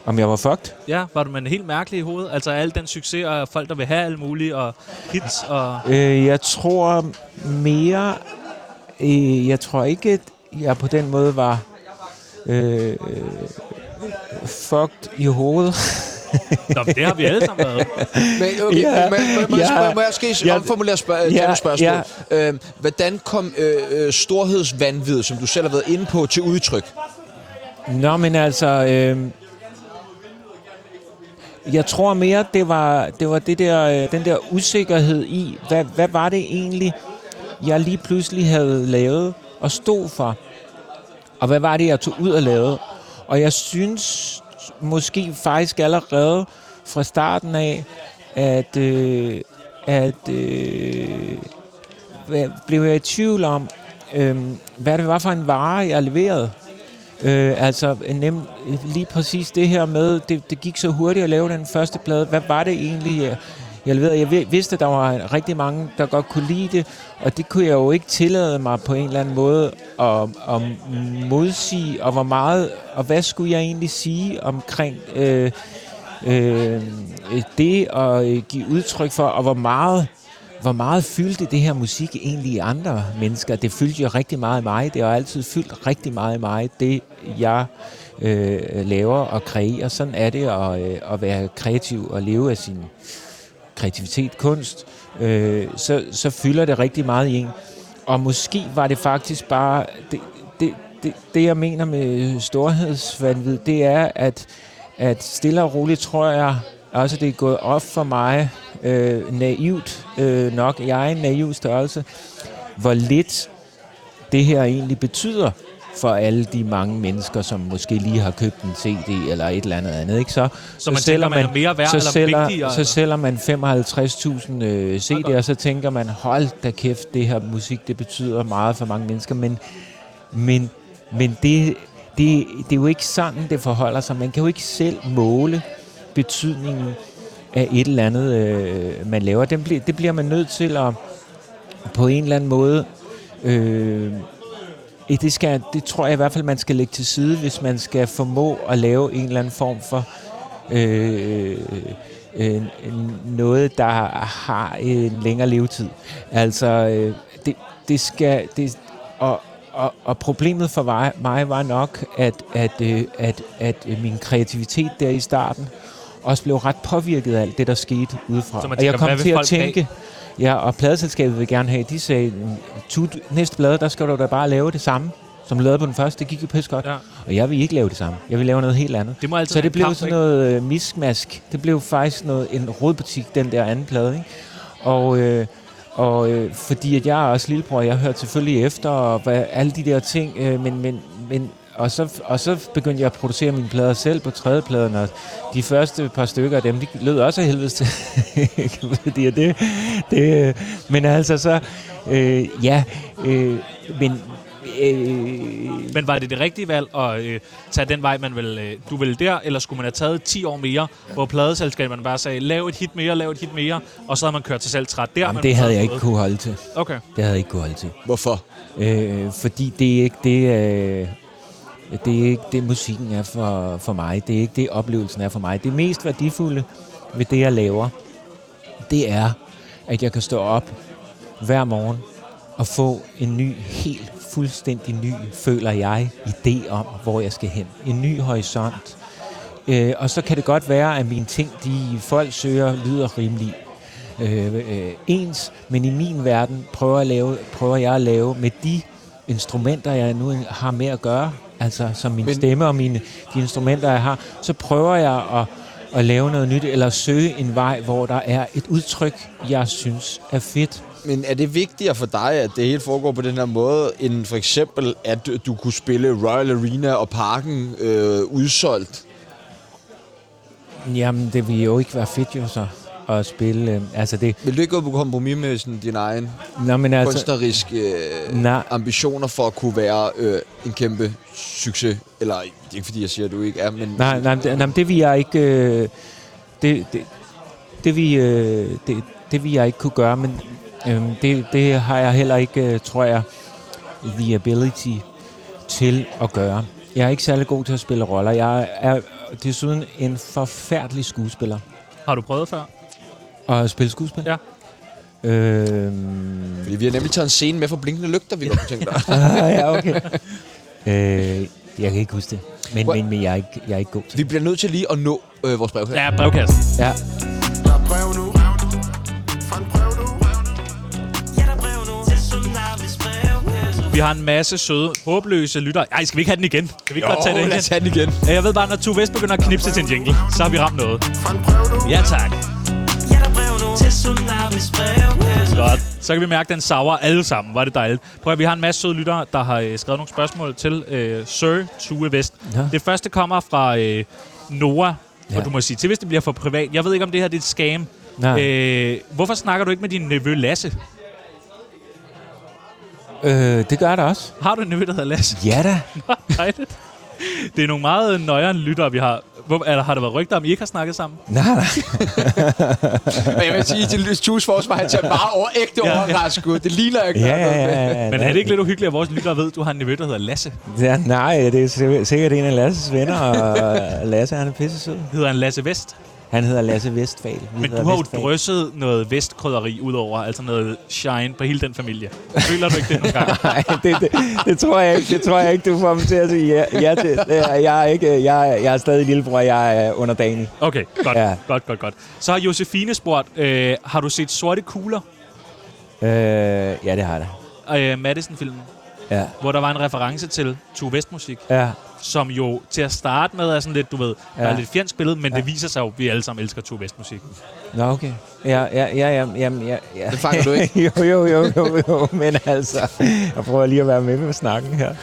Speaker 5: om jeg var fucked?
Speaker 2: Ja, var du man helt mærkelig i hovedet? Altså al den succes og folk, der vil have alt muligt, og hits og...
Speaker 5: Øh, jeg tror mere... Øh, jeg tror ikke, at jeg på den måde var øh, øh, fucked i hovedet.
Speaker 2: Nå, men det har vi alle sammen været.
Speaker 3: Men okay,
Speaker 5: Ja,
Speaker 3: ja, må, må, må,
Speaker 5: ja,
Speaker 3: ja, må, må jeg måske
Speaker 5: ja,
Speaker 3: ja, omformulere spørg-
Speaker 5: ja,
Speaker 3: ja, spørgsmål? Ja. Øhm, hvordan kom øh, øh, storhedsvandvid, som du selv har været inde på, til udtryk?
Speaker 5: Nå, men altså... Øh, jeg tror mere, det var, det var det der, øh, den der usikkerhed i, hvad, hvad var det egentlig, jeg lige pludselig havde lavet og stod for? Og hvad var det, jeg tog ud og lavede? Og jeg synes måske faktisk allerede fra starten af, at, øh, at øh, hvad- blev jeg i tvivl om, øh, hvad det var for en vare, jeg leverede. Øh, altså nem, lige præcis det her med, det, det gik så hurtigt at lave den første plade. Hvad var det egentlig, jeg, jeg leverede? Jeg vi- vidste, at der var rigtig mange, der godt kunne lide det, og det kunne jeg jo ikke tillade mig på en eller anden måde at, at modsige, og hvor meget, og hvad skulle jeg egentlig sige omkring øh, øh, det at øh, give udtryk for, og hvor meget hvor meget fyldte det her musik egentlig i andre mennesker? Det fyldte jo rigtig meget i mig. Det har altid fyldt rigtig meget i mig, det jeg øh, laver og kreerer. Sådan er det at, øh, at være kreativ og leve af sin kreativitet, kunst. Øh, så, så fylder det rigtig meget i en. Og måske var det faktisk bare... Det, det, det, det jeg mener med storhedsvandvid, det er, at, at stille og roligt tror jeg også, det er gået op for mig øh, naivt øh, nok. Jeg er en naiv størrelse. Hvor lidt det her egentlig betyder for alle de mange mennesker, som måske lige har købt en CD eller et eller andet andet. Ikke? Så,
Speaker 2: Så man tænker, man er mere værd
Speaker 5: så
Speaker 2: eller
Speaker 5: sælger,
Speaker 2: vigtigere,
Speaker 5: Så
Speaker 2: eller?
Speaker 5: sælger man 55.000 øh, CD'er, så tænker man, hold da kæft, det her musik, det betyder meget for mange mennesker. Men, men, men det, det, det er jo ikke sådan, det forholder sig. Man kan jo ikke selv måle betydningen af et eller andet, øh, man laver. Den bliver, det bliver man nødt til at på en eller anden måde... Øh, eh, det, skal, det tror jeg i hvert fald, man skal lægge til side, hvis man skal formå at lave en eller anden form for øh, øh, noget, der har en længere levetid. Altså, øh, det, det skal... Det, og, og, og problemet for mig, mig var nok, at, at, øh, at, at øh, min kreativitet der i starten også blev ret påvirket af alt det, der skete udefra.
Speaker 2: Så man
Speaker 5: og jeg
Speaker 2: tænker,
Speaker 5: kom
Speaker 2: hvad vil
Speaker 5: til at
Speaker 2: folk have?
Speaker 5: tænke... Ja, og pladeselskabet vil gerne have, de sagde, "Du, næste plade, der skal du da bare lave det samme, som du lavede på den første. Det gik jo pisse godt.
Speaker 2: Ja.
Speaker 5: Og jeg vil ikke lave det samme. Jeg vil lave noget helt andet.
Speaker 2: Det må altid
Speaker 5: så
Speaker 2: være
Speaker 5: det
Speaker 2: en
Speaker 5: blev
Speaker 2: kamp,
Speaker 5: sådan
Speaker 2: ikke?
Speaker 5: noget øh, miskmask. Det blev faktisk noget, en rodbutik, den der anden plade. Ikke? Og, øh, og øh, fordi at jeg er også lillebror, jeg hørte selvfølgelig efter, og hvad, alle de der ting, øh, men, men, men og så, og så begyndte jeg at producere mine plader selv på tredjepladen, og de første par stykker af dem, de lød også af helvedes til. Fordi at det, det, øh, men altså så, øh, ja, øh, men, øh,
Speaker 2: Men var det det rigtige valg at øh, tage den vej, man vil, øh, du ville der, eller skulle man have taget 10 år mere, hvor pladeselskaberne bare sagde, lav et hit mere, lav et hit mere, og så havde man kørt sig selv træt der.
Speaker 5: jamen,
Speaker 2: men
Speaker 5: det
Speaker 2: man
Speaker 5: havde
Speaker 2: havde
Speaker 5: jeg ikke
Speaker 2: fået-
Speaker 5: kunne holde til.
Speaker 2: Okay.
Speaker 5: Det havde jeg ikke kunne holde til.
Speaker 3: Hvorfor?
Speaker 5: Øh, fordi det er ikke det, øh, Det er ikke det, musikken er for, for mig. Det er ikke det, oplevelsen er for mig. Det mest værdifulde ved det, jeg laver, det er, at jeg kan stå op hver morgen og få en ny, helt fuldstændig ny, føler jeg, idé om, hvor jeg skal hen. En ny horisont. Øh, og så kan det godt være, at mine ting, de folk søger, lyder rimelig øh, øh, ens, men i min verden prøver, at lave, prøver jeg at lave med de instrumenter, jeg nu har med at gøre, altså som min men... stemme og mine, de instrumenter, jeg har, så prøver jeg at, at lave noget nyt, eller søge en vej, hvor der er et udtryk, jeg synes er fedt.
Speaker 3: Men er det vigtigere for dig, at det hele foregår på den her måde, end for eksempel, at du, du kunne spille Royal Arena og Parken øh, udsolgt?
Speaker 5: Jamen, det ville jo ikke være fedt jo så at spille. Øh, altså det,
Speaker 3: Vil du ikke gå på kompromis med sådan, din egen
Speaker 5: nå, men
Speaker 3: altså,
Speaker 5: altså,
Speaker 3: kunstneriske øh,
Speaker 5: Nej.
Speaker 3: ambitioner for at kunne være øh, en kæmpe succes? Eller, det er ikke fordi, jeg siger, at du ikke er, men...
Speaker 5: nej, nej, det, nej, men det vil jeg ikke... Øh, det, det, det, vil, øh, det, det vil jeg ikke kunne gøre, men øh, det, det har jeg heller ikke, øh, tror jeg, the ability til at gøre. Jeg er ikke særlig god til at spille roller. Jeg er desuden en forfærdelig skuespiller.
Speaker 2: Har du prøvet før?
Speaker 5: Og at spille skuespil?
Speaker 2: Ja.
Speaker 5: Øhm,
Speaker 3: Fordi vi har nemlig taget en scene med fra Blinkende Lygter, vi godt kunne tænke dig.
Speaker 5: ah, ja, okay. øh, jeg kan ikke huske det. Men,
Speaker 3: Hvor-
Speaker 5: men, men jeg, er ikke, jeg er ikke god til
Speaker 3: Vi
Speaker 5: det.
Speaker 3: bliver nødt til lige at nå øh, vores brev her.
Speaker 2: Ja, brevkassen.
Speaker 5: Ja.
Speaker 7: Der er brev nu Fra en brev nu Ja, der er brev nu Til Tsunamis brevkasse
Speaker 2: Vi har en masse søde, håbløse lyttere. Ej, skal vi ikke have den igen? Kan vi ikke godt tage den
Speaker 3: Åh, lad
Speaker 2: igen?
Speaker 3: os tage den igen.
Speaker 2: Ja, Jeg ved bare, når Tue Vest begynder at knipse til en jingle, så har vi ramt noget.
Speaker 7: Fra en brev nu
Speaker 2: Ja, tak.
Speaker 7: Ja, der er brev nu Til Tsunamis brevkasse
Speaker 2: Godt. Så kan vi mærke, at den savrer alle sammen. Var det dejligt. Prøv at vi har en masse søde lyttere, der har øh, skrevet nogle spørgsmål til øh, Sir Tue Vest. Ja.
Speaker 5: Ja.
Speaker 2: Det første kommer fra øh, Noah. Ja.
Speaker 5: Ja.
Speaker 2: Og du må sige til, hvis det bliver for privat. Jeg ved ikke, om det her det er et scam.
Speaker 5: Nej.
Speaker 2: Øh, hvorfor snakker du ikke med din nevø Lasse?
Speaker 5: Øh, det gør der også.
Speaker 2: Har du en nevø, der hedder Lasse?
Speaker 5: Ja da.
Speaker 2: Dejligt. Det er nogle meget nøjere lyttere, vi har. Hvor, eller har der været rygter om, I ikke har snakket sammen?
Speaker 5: Nej, nej.
Speaker 3: Men jeg vil sige, til Lys Tues forsvar, han tager bare over ægte
Speaker 2: ja.
Speaker 3: overrasket ud. Det ligner ikke
Speaker 5: Ja,
Speaker 3: der er noget
Speaker 5: ja,
Speaker 3: med.
Speaker 5: ja, ja.
Speaker 2: Men er det ikke lidt uhyggeligt, at vores lyttere ved, at du har en nevø, der hedder Lasse?
Speaker 5: Ja, nej, det er sikkert- sikkert en af Lasses venner, og Lasse han er pisse sød.
Speaker 2: Hedder han Lasse Vest?
Speaker 5: Han hedder Lasse Vestfal. Vi
Speaker 2: Men
Speaker 5: hedder
Speaker 2: du har jo
Speaker 5: Vestfal.
Speaker 2: drysset noget vestkrydderi ud over, altså noget shine på hele den familie. Føler du ikke det nogle gange?
Speaker 5: Nej, det, det, det, tror jeg ikke. Det tror jeg ikke, du får mig til at sige ja, ja til. Det er- Jeg er, ikke, jeg, er- jeg er stadig lillebror, jeg er underdanig.
Speaker 2: Okay, godt, ja.
Speaker 5: Ja.
Speaker 2: godt, godt, godt. Så har Josefine spurgt, øh, har du set Sorte Kugler?
Speaker 5: Øh, ja, det har jeg da.
Speaker 2: Øh, Madison-filmen,
Speaker 5: Ja,
Speaker 2: hvor der var en reference til Tue Vest-musik,
Speaker 5: ja,
Speaker 2: som jo til at starte med er sådan lidt, du ved, ja. er
Speaker 5: Ja.
Speaker 2: lidt fjendsk billede, men ja. det viser sig jo, at vi alle sammen elsker Tue Vest-musik.
Speaker 5: Nå, okay. Ja, ja, ja, ja, jamen, ja, ja.
Speaker 3: Det fanger du ikke.
Speaker 5: jo, jo, jo, jo, jo, men altså, jeg prøver lige at være med på snakken her.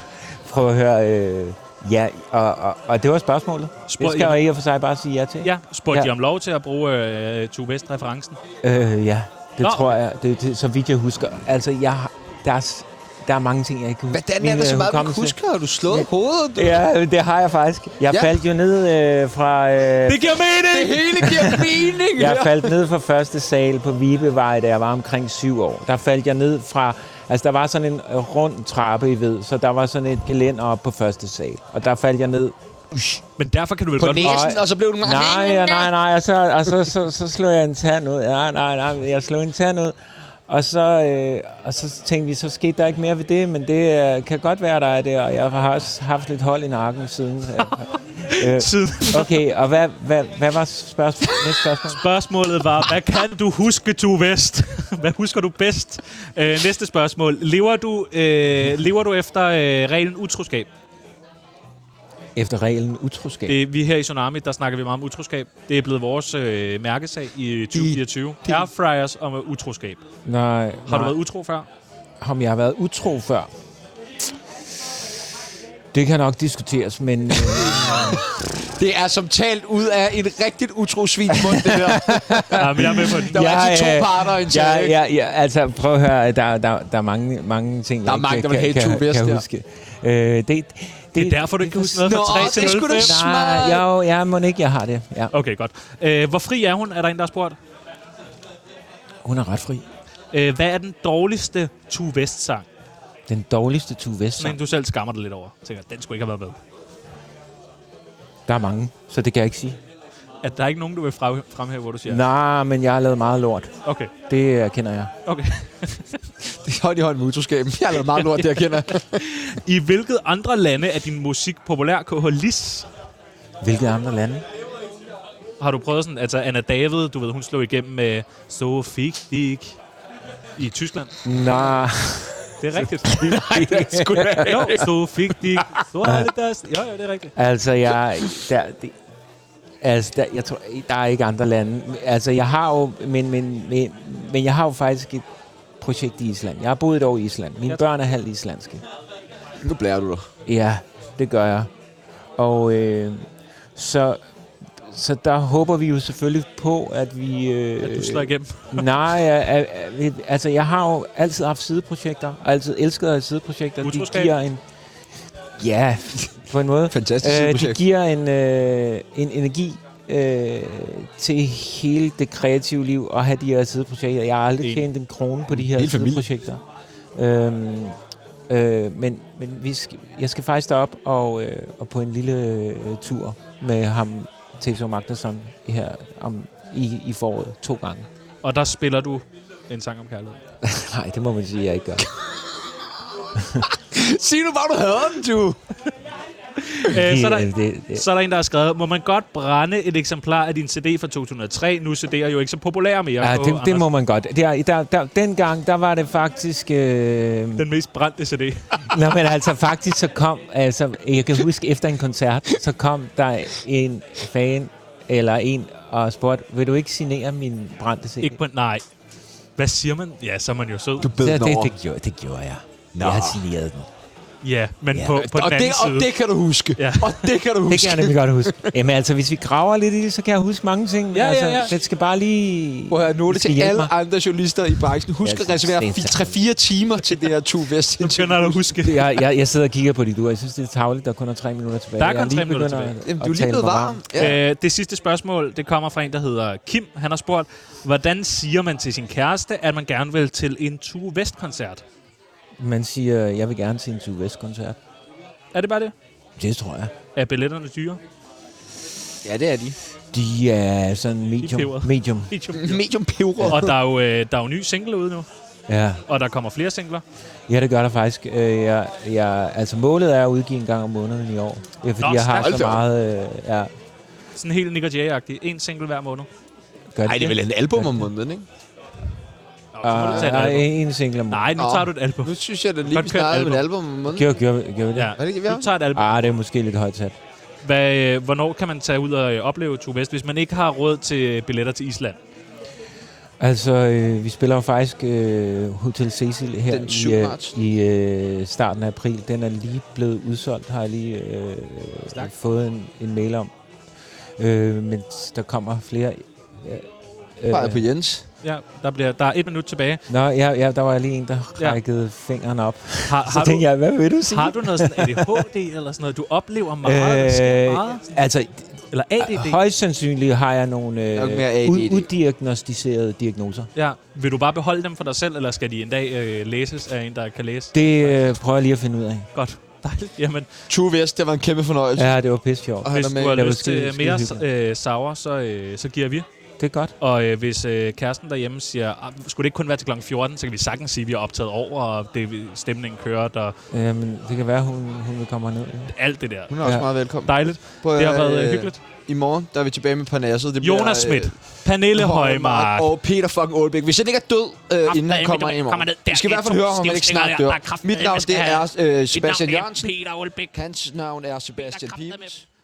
Speaker 5: Prøv at høre, øh, ja, og, og, og det var spørgsmålet.
Speaker 2: Spørg-
Speaker 5: det skal jeg i og for sig bare sige ja til.
Speaker 2: Ja, spurgte ja.
Speaker 5: Ja.
Speaker 2: de om lov til at bruge øh, Tue Vest-referencen.
Speaker 5: Øh, ja, det
Speaker 2: Nå.
Speaker 5: Nå. tror jeg, det, det, så vidt jeg husker. Altså, jeg, har- der, er, s- der er mange ting, jeg ikke kan huske.
Speaker 3: Hvordan er
Speaker 5: Min,
Speaker 3: der så
Speaker 5: øh,
Speaker 3: meget, du
Speaker 5: hukommelse-
Speaker 3: ikke husker? Har du slået hovedet? Det
Speaker 5: Ja, det har jeg faktisk. Jeg
Speaker 3: Ja.
Speaker 5: ja. faldt jo ned øh, fra... Øh,
Speaker 2: Det giver mening!
Speaker 3: hele giver mening.
Speaker 5: jeg faldt ned fra første sal på Vibevej, da jeg var omkring syv år. Der faldt jeg ned fra... Altså, der var sådan en øh, rund trappe, I ved, så der var sådan et gelænder op på første sal. Og der faldt jeg ned.
Speaker 2: Men derfor kan du vel
Speaker 3: På
Speaker 2: godt...
Speaker 3: næsen, og så blev du...
Speaker 5: Nej, ja, nej, nej, og så, og så, så, så slog jeg en tand ud. Nej, nej, nej, jeg slog en tand ud. Og så, øh, og så tænkte vi, så skete der ikke mere ved det, men det øh, kan godt være, der er det, og jeg har også haft lidt hold i nakken siden. øh,
Speaker 2: Siden.
Speaker 5: okay, og hvad, hvad, hvad var spørgsmålet? Næste spørgsmål?
Speaker 2: Spørgsmålet var, hvad kan du huske, du Vest? hvad husker du bedst? Øh, næste spørgsmål. Lever du, øh, lever du efter øh, reglen utroskab?
Speaker 5: Efter reglen utroskab.
Speaker 2: Det, vi her i Tsunami, der snakker vi meget om utroskab. Det er blevet vores øh, mærkesag i 2024. Airfryers om utroskab.
Speaker 5: Nej,
Speaker 2: Har
Speaker 5: nej.
Speaker 2: du været utro før?
Speaker 5: om jeg har været utro før. Det kan nok diskuteres, men øh,
Speaker 3: Det er som talt ud af en rigtigt utro svinmund, det her.
Speaker 2: ja, men jeg er med på den.
Speaker 3: Der var
Speaker 5: Jeg,
Speaker 3: altid to
Speaker 5: øh,
Speaker 3: parter i en
Speaker 5: ja,
Speaker 3: tale, ikke?
Speaker 5: ja, ja, altså prøv at høre, der, der, der er mange, mange ting,
Speaker 3: Der er
Speaker 5: jeg
Speaker 3: mange,
Speaker 5: ikke
Speaker 3: der vil hate
Speaker 5: kan,
Speaker 3: Tue
Speaker 5: kan,
Speaker 3: West,
Speaker 5: kan
Speaker 3: ja.
Speaker 5: huske. Øh, det, det,
Speaker 2: Det er derfor, du ikke kan huske noget
Speaker 3: Nå,
Speaker 2: fra 3 til
Speaker 3: det er sgu da
Speaker 2: 05.
Speaker 3: smart.
Speaker 5: Nej, jo, ja, må ikke, jeg har det. Ja.
Speaker 2: Okay, godt. Øh, hvor fri er hun, er der en, der har spurgt.
Speaker 5: Hun er ret fri.
Speaker 2: Øh, hvad er den dårligste Tue Vest-sang?
Speaker 5: Den dårligste Tue West
Speaker 2: Sådan en, du selv skammer dig lidt over. Tænker, den skulle ikke have været med.
Speaker 5: Der er mange, så det kan jeg ikke sige.
Speaker 2: At der er ikke nogen, du vil fra- fremhæve, hvor du siger?
Speaker 5: Ja. Nej, men jeg har lavet meget lort.
Speaker 2: Okay,
Speaker 5: Det erkender jeg.
Speaker 2: okay.
Speaker 3: Det er hånd i hånd med utroskaben. Jeg har lavet meget lort, det jeg kender.
Speaker 2: I hvilket andre lande er din musik populær, KH Lis?
Speaker 5: Hvilke andre lande?
Speaker 2: Har du prøvet sådan, altså Anna David, du ved, hun slog igennem med So Fik Dik i Tyskland.
Speaker 5: Nej,
Speaker 2: Det er rigtigt. Nej, det er sgu da. Jo, So Fik Dik, So alle deres. Jo, jo, det er rigtigt.
Speaker 5: altså jeg... Der, det, altså, der, jeg tror, der er ikke andre lande. Altså, jeg har jo... Men, men, men, men jeg har jo faktisk et projekt i Island. Jeg har boet et år i Island. Mine
Speaker 2: Jeg-
Speaker 5: børn er halvt islandske.
Speaker 3: Nu blærer du dig.
Speaker 5: Ja, det gør jeg. Og øh, så, så der håber vi jo selvfølgelig på, at vi... Øh,
Speaker 2: Du slår igennem.
Speaker 5: Nej, øh, øh, øh, altså jeg har jo altid haft sideprojekter, og altid elsket at have sideprojekter.
Speaker 2: Utroskab?
Speaker 5: De giver en... Ja, på en måde.
Speaker 3: Fantastisk
Speaker 5: Øh, de
Speaker 3: projekt.
Speaker 5: giver en, øh, en energi øh, til hele det kreative liv at have de her sideprojekter. Jeg har aldrig
Speaker 2: Enig.
Speaker 5: tjent en krone på de her
Speaker 3: Hele familien.
Speaker 5: sideprojekter. Øhm, øh, men men vi skal, jeg skal faktisk derop og, øh, og på en lille øh, tur med ham, Teso Magnusson, her om, i, i foråret to gange.
Speaker 2: Og der spiller du en sang om kærlighed.
Speaker 5: Nej, det må man sige, jeg ikke gør.
Speaker 3: Sig nu bare, du havde den, du.
Speaker 2: Øh, så er der,
Speaker 5: det, det, det.
Speaker 2: Så er der en, der har skrevet, må man godt brænde et eksemplar af din CD fra 2003? Nu CD'er jo ikke så populære mere.
Speaker 5: Ja,
Speaker 2: Åh,
Speaker 5: det, det
Speaker 2: Anders,
Speaker 5: må man godt. Der, der, der, dengang, der var det faktisk... Øh,
Speaker 2: Den mest brændte CD.
Speaker 5: Nå, men altså faktisk så kom, altså jeg kan huske efter en koncert, så kom der en fan eller en og spurgte, vil du ikke signere min brændte CD?
Speaker 2: ikke på, nej. Hvad siger man? Ja, så er man jo sød.
Speaker 3: Du bed
Speaker 5: Så
Speaker 3: den
Speaker 5: det,
Speaker 3: over.
Speaker 5: det, gjorde, det gjorde jeg. Jeg har signeret den.
Speaker 2: Ja, men
Speaker 5: Ja.
Speaker 2: på, på
Speaker 3: og,
Speaker 2: den
Speaker 3: det,
Speaker 2: anden
Speaker 3: og
Speaker 2: side.
Speaker 3: det kan du huske.
Speaker 2: Ja.
Speaker 3: Og det kan du
Speaker 5: Det
Speaker 3: huske.
Speaker 5: kan jeg nemlig godt huske. Jamen altså, hvis vi graver lidt i det, så kan jeg huske mange ting.
Speaker 2: Ja, ja,
Speaker 5: altså,
Speaker 2: ja.
Speaker 5: Det skal bare lige...
Speaker 3: Prøv at høre, note
Speaker 5: det skal
Speaker 3: til
Speaker 5: hjælpe
Speaker 3: alle
Speaker 5: mig.
Speaker 3: andre journalister i branchen. Husk
Speaker 5: Ja,
Speaker 3: at reservere
Speaker 5: det er sandt.
Speaker 3: 3-4 timer til det her Tu Vest.
Speaker 2: Nu begynder du at huske.
Speaker 5: Det- Jeg, jeg, jeg sidder og kigger på dit ur. Jeg synes, det er tavligt, der kun er tre minutter tilbage.
Speaker 2: Der er
Speaker 5: Jeg
Speaker 2: kun tre
Speaker 5: lige
Speaker 2: minutter
Speaker 5: begynder
Speaker 3: Jamen,
Speaker 5: at-
Speaker 3: du er
Speaker 5: at
Speaker 3: lige
Speaker 5: tale
Speaker 3: blevet
Speaker 5: mig
Speaker 3: varm. Ja.
Speaker 2: Øh, det sidste spørgsmål, det kommer fra en, der hedder Kim. Han har spurgt, hvordan siger man til sin kæreste, at man gerne vil til en Tue Vest-koncert?
Speaker 5: Man siger, jeg vil gerne til en Tue Vest-koncert.
Speaker 2: Er det bare det?
Speaker 5: Det tror jeg.
Speaker 2: Er billetterne dyre?
Speaker 3: ja, det er de.
Speaker 5: De er sådan medium.
Speaker 2: peber.
Speaker 5: medium.
Speaker 3: Medium peber.
Speaker 2: Og der er, jo, øh, der er jo nye single ude nu,
Speaker 5: Ja.
Speaker 2: og der kommer flere singler.
Speaker 5: ja, det gør der faktisk. Øh, Jeg, jeg, altså målet er at udgive en gang om måneden i år. Ja, fordi
Speaker 2: Nå,
Speaker 5: Nå, jeg har
Speaker 2: stærkt.
Speaker 5: så meget... Øh, ja,
Speaker 2: Sådan helt Nick Jay-agtig. En single hver måned.
Speaker 5: gør
Speaker 3: Nej, det er vel en album om måneden, ikke?
Speaker 2: Nå, så må du tage et
Speaker 5: Uh, uh,
Speaker 2: album.
Speaker 5: en single om
Speaker 2: Nej, nu
Speaker 3: Ah, Nå.
Speaker 2: tager du et album.
Speaker 3: Nu synes jeg, at lige
Speaker 2: Godt
Speaker 3: vi
Speaker 2: kørt
Speaker 3: snakkede om et
Speaker 2: album.
Speaker 3: album om måneden.
Speaker 5: Gjør, gjør, gjør vi det?
Speaker 2: Ja.
Speaker 5: Ja.
Speaker 3: Er det ikke, vi har?
Speaker 2: Du tager et album.
Speaker 5: Ah, det er måske lidt højt sat.
Speaker 2: Hvad, øh, hvornår kan man tage ud og øh, opleve Tue Vest, hvis man ikke har råd til billetter til Island?
Speaker 5: Altså, øh, vi spiller jo faktisk øh, Hotel Cecil her
Speaker 3: Den
Speaker 5: i,
Speaker 3: 7.
Speaker 5: øh,
Speaker 3: marts.
Speaker 5: i øh, starten af april. Den er lige blevet udsolgt, har jeg lige øh,
Speaker 2: Stærkt.
Speaker 5: fået en, en mail om. Øh, men der kommer flere... Øh, øh,
Speaker 3: Bare på Jens.
Speaker 2: Ja, der, bliver, der er et minut tilbage.
Speaker 5: Nå, ja, ja, der var lige en, der
Speaker 2: Ja.
Speaker 5: rækkede ja. fingeren op. Så
Speaker 2: Har, har, du,
Speaker 5: tænkte jeg, hvad vil du sige?
Speaker 2: har du noget sådan ADHD eller sådan noget? Du oplever meget, øh, der sker meget.
Speaker 5: altså,
Speaker 2: Eller ADD?
Speaker 5: højst sandsynligt har jeg nogle
Speaker 3: Nok mere
Speaker 5: øh,
Speaker 3: ADD.
Speaker 5: ud, uddiagnostiserede diagnoser.
Speaker 2: Ja. Vil du bare beholde dem for dig selv, eller skal de en dag øh, læses af en, der kan læse?
Speaker 5: Det øh, prøver jeg lige at finde ud af.
Speaker 2: Godt. Dejligt. Jamen,
Speaker 3: Tu Vest, det var en kæmpe fornøjelse.
Speaker 5: Ja, det var pisse sjovt.
Speaker 3: Altså- Og han
Speaker 2: hvis
Speaker 3: er
Speaker 2: du
Speaker 3: med.
Speaker 2: har
Speaker 5: Det var
Speaker 2: lyst til
Speaker 5: skide-
Speaker 2: mere
Speaker 5: skide
Speaker 2: øh, sauer, så, øh, så giver vi.
Speaker 5: Det er godt.
Speaker 2: Og øh, hvis øh, kæresten derhjemme siger, "Ah, skulle det ikke kun være til kl. 14, så kan vi sagtens sige, at vi er optaget over, og det, stemningen kører, og
Speaker 5: Øh, men det kan være, hun, hun vil komme herned. ja.
Speaker 2: alt det der.
Speaker 3: Hun er også
Speaker 5: Ja.
Speaker 3: meget velkommen.
Speaker 2: Dejligt.
Speaker 3: Prøv at
Speaker 2: Det har
Speaker 3: høre,
Speaker 2: været øh,
Speaker 3: øh,
Speaker 2: hyggeligt.
Speaker 3: I morgen, der er vi tilbage med Parnasset. Det bliver,
Speaker 2: Jonas
Speaker 3: øh,
Speaker 2: Schmidt, Pernille Højmark.
Speaker 3: Og Peter fucking Aalbæk. Hvis han ikke er død, øh, inden han kommer ind i morgen. Vi skal i hvert fald høre, om han ikke snart dør. Mit navn, det er øh, Sebastian Jørgensen.
Speaker 7: Peter Olbæk.
Speaker 3: Hans navn er Sebastian Pibes.